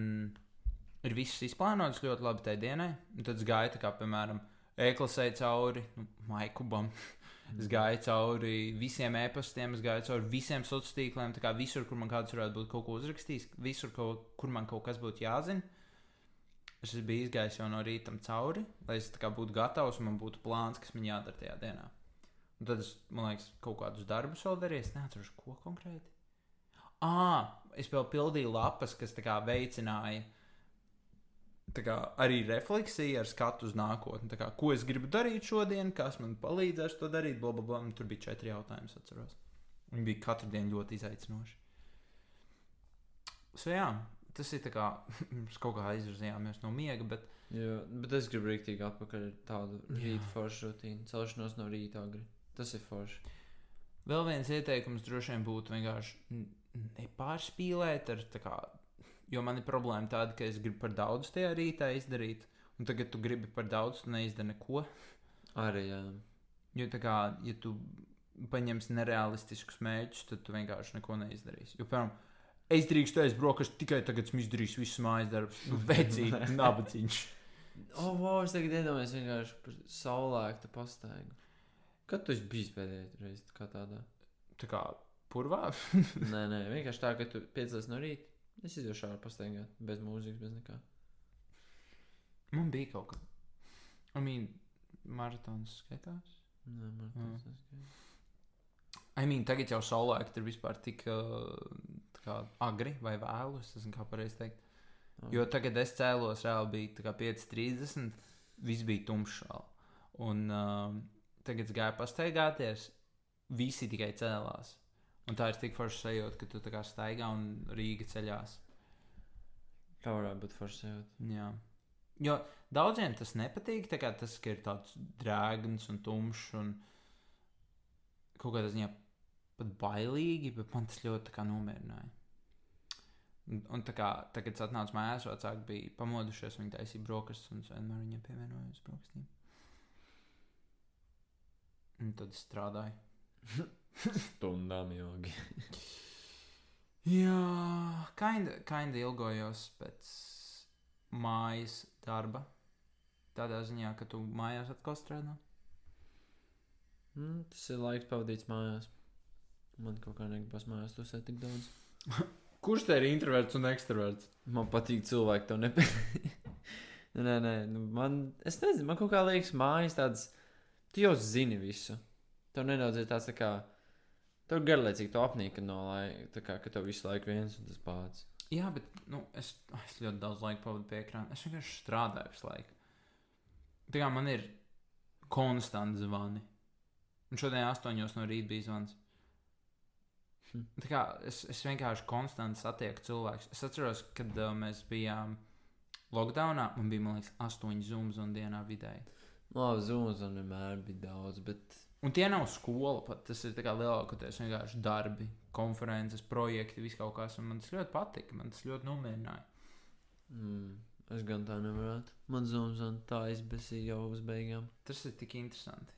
ir viss izplānots ļoti labi tajā dienā. Un Tad es gāju, tā kā, piemēram, e-klasē cauri nu, Maikubam. Es gāju cauri visiem e-pastiem, es gāju cauri visiem sociāliem tīkliem. tā kā Visur, kur man kāds varētu būt kaut ko uzrakstījis, visur, kaut, kur man kaut kas būtu jāzina. Es biju izgājis jau no rīta cauri, lai es tā kā būtu gatavs un man būtu plāns, kas man jādara tajā dienā. Un tad es, man liekas, kaut kādus darbus vēl darīju, es neatceros, ko konkrēti. Ah, es vēl pildīju lapas, kas tā kā veicināja tā kā, arī refleksiju ar skatu uz nākotni. Tā Kā, ko es gribu darīt šodien, kas man palīdzēs to darīt, bla, bla, bla. Un Tur bija četri jautājumi, es atceros. Viņi bija katru dienu ļoti izaicinoši. So, jā, tas ir tā kā mēs kaut kā izvirzījāmies no miega, bet
Jā, bet es gribu rīktīgi atpakaļ ar tādu
Jā.
rīta foršu rutīnu. Celšanos no rīta agri. Tas ir forši.
Vēl viens ieteikums droši vien būtu vienkārši n- nepārspīlēt, ar, tā kā, jo man ir problēma tāda, ka es gribu par daudz tajā rītā izdarīt, un tagad tu gribi par daudz, tu neizdari neko.
Arī jā.
Jo, tā kā, ja tu paņemsi nereālistiskus mērķus, tad tu vienkārši neko neizdarīsi. Jo, piemēram, es drīkstu aizbraukt, es tikai tagad esmu izdarījis visus mājas darbus, nu, vecīgi, nabadzīgs.
O, oh, wow, es tagad iedomājos vienkārši par saulēktu pastaigu. Kad tu esi bijis pēdējais reizes kā tādā?
Tā kā purvā.
nē, nē, vienkārši tā, ka tu piecēlies no rīta. Es izdošu ārā pastaigāt, bez mūzikas, bez nekā.
Man bija kaut kas. I mean, maratons skaitās.
Nē, man
Mm.
tas neskat.
I mean, tagad jau saulēkti ir vispār tik uh, tā kā agri vai vēlu. Es nezinu, kā pareizi teikt.
Oh.
Jo tagad es cēlos, reāli bija tā kā 5.30. Viss bija tumšs. vēl. Un uh, tagad es gāju pastaigāties. Visi tikai cēlās. Un tā ir tik forša sajūta, ka tu tā kā staigā un Rīga ceļās.
Tā varētu būt forša sajūta.
Jā. Jo daudziem tas nepatīk, tā kā tas ka ir tāds drēgns un tumšs un kaut kādā ziņā pat bailīgi, bet man tas ļoti tā kā nomierināja. Un, un tā kā tagad, kad es atnācu mājās, vecāki bija pamodušies, viņi taisīja brokastis un es vienmēr viņiem pievienojos brokastīm. Un tad es strādāju.
Stundām ilgi.
Jā, kinda, kinda ilgojos pēc mājas darba. Tādā ziņā, ka tu mājās atkal strādā.
Mm, tas ir laiks pavadīts mājās. Man kaut kā negribas mājās tusēt tik daudz.
Kurš te ir introverts un ekstraverts?
Man patīk cilvēki, to nepatīk. nē, nē, nu man, es nezinu, man kaut kā liekas, mājas tādas, tu jau zini visu. Tev nedaudz ir tāds, tā kā, tev garlaicīgi to apnīka no laika, tā kā, ka tev visu laiku viens un tas pats.
Jā, bet nu, es, es ļoti daudz laika pavadu pie ekrāna. Es vienkārši strādāju visu laiku. Tā kā man ir konstanti zvani. Un šodien astoņos no rīta bija zvans.
Hm.
Tā kā es, es vienkārši konstanti satieku cilvēkus. Es atceros, kad uh, mēs bijām lockdownā, man bija, man liekas, astoņi zūmas un dienā vidēji.
Labi, zūmas un vienmēr bija daudz, bet
Un tie nav skola, pat tas ir tā kā lielākoties vienkārši darbi, konferences, projekti, viss kaut kas. Un man tas ļoti patika, man tas ļoti nomierināja.
mm, es gan tā nevarētu. Man zūmas un tā izbēsīja jau uz beigām.
Tas ir tik interesanti.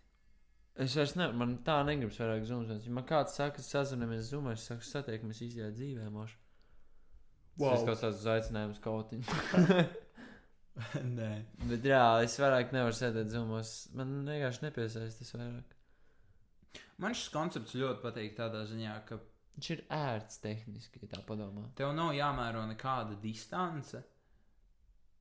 Es vairs nevaru, man tā negribas vairāk zūmas. Ja man kāds saka, sazinamies zūmā, es saku, satiekamies īstajā dzīvē, moš. Wow. Tas ir kaut kāds uzaicinājums kaut kā.
Nē,
Bet reāli es vairāk nevaru sēdēt zumos. Man vienkārši nepiesaistīs vairāk.
man šis koncepts ļoti patīk tādā ziņā, ka
Viņš ir ērts tehniski, ja tā padomā.
tev nav jāmēro nekāda distance,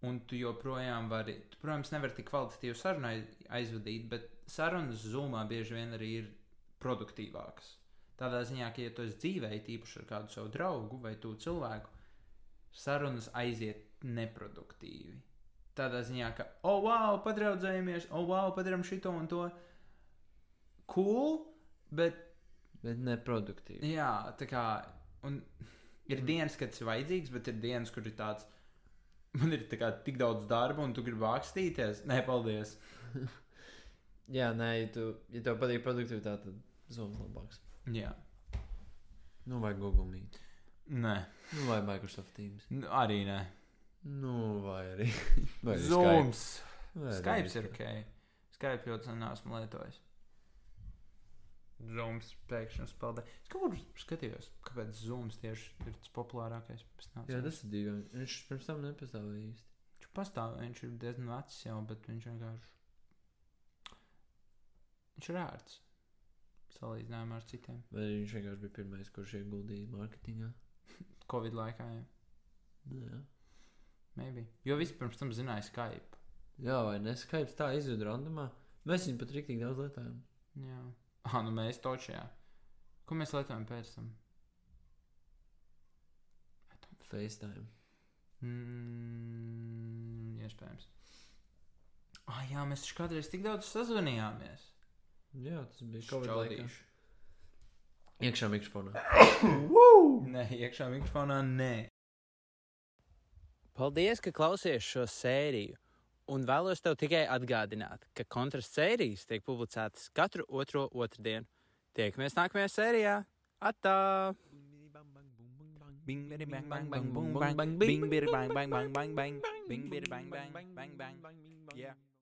un tu joprojām vari, tu, protams, nevari tik kvalitatīvu sarunu aiz- aizvadīt, bet sarunas zumā bieži vien arī ir produktīvākas. Tādā ziņā, ka, ja tu esi dzīvē, it īpaši ar kādu savu draugu vai tu cilvēku, sarunas aiziet neproduktīvi. Tādā ziņā, ka, oh, wow, padraudzējamies, oh, wow, padarām šito un to. Cool, bet
Bet neproduktīvi.
Jā, tā kā un
Mm.
ir dienas, kad tas ir vajadzīgs, bet ir dienas, kur ir tāds, man ir tā kā, tik daudz darba, un tu gribi vākstīties. Nē, paldies.
Jā, nē, ja, tu, ja tev patīk produktivitāte, tad zums labāks.
Jā,
Nu, vai Google Meet.
nē,
Nu, vai Microsoft Teams.
Nu, arī nē.
Nu, vai arī. vai arī
Zooms.
Skype. Vai arī
Skype ir
Skype.
ok. Skype ļoti sen esmu lietojis. Zooms pēkšņi spēlē. Es kaut kur skatījos, kāpēc Zooms tieši ir tas populārākais. Es
Jā,
neatceros.
tas ir divi. Viņš pirms tam nepastāvēja īsti.
Viņš pastāv, viņš ir diezgan vecs jau, bet viņš vienkārši. Viņš ir ērts. Salīdzinājumā ar citiem.
Vai arī viņš vienkārši bija pirmais, kurš ieguldīja mārketingā?
Covid laikā, jā.
Nu, Jā.
Maybe. Jo viss pirms tam zināja Skype.
Jā, vai ne? Skype tā izzuda randomā. Mēs viņu pat rīktīgi daudz lietojam.
Jā. Ah, nu mēs točajā. Ko mēs lietojam pēc tam?
FaceTime.
Mm, iespējams. Ah, jā, mēs taču kādreiz tik daudz sazvanījāmies.
Jā, tas bija Covid laikā.
Šķaudīšu.
Iekšā mikrofonā.
Nē, iekšā mikrofonā nē. Paldies, ka klausies šo sēriju. Un vēlos tev tikai atgādināt, ka kontrasts sērijas tiek publicētas katru otro otrdienu. Tiekamies nākamajā sērijā! Atā!
Bing biri bang bang bang boom bang bing biri bang bang bang bang bang bing biri bang bang bang bang yeah.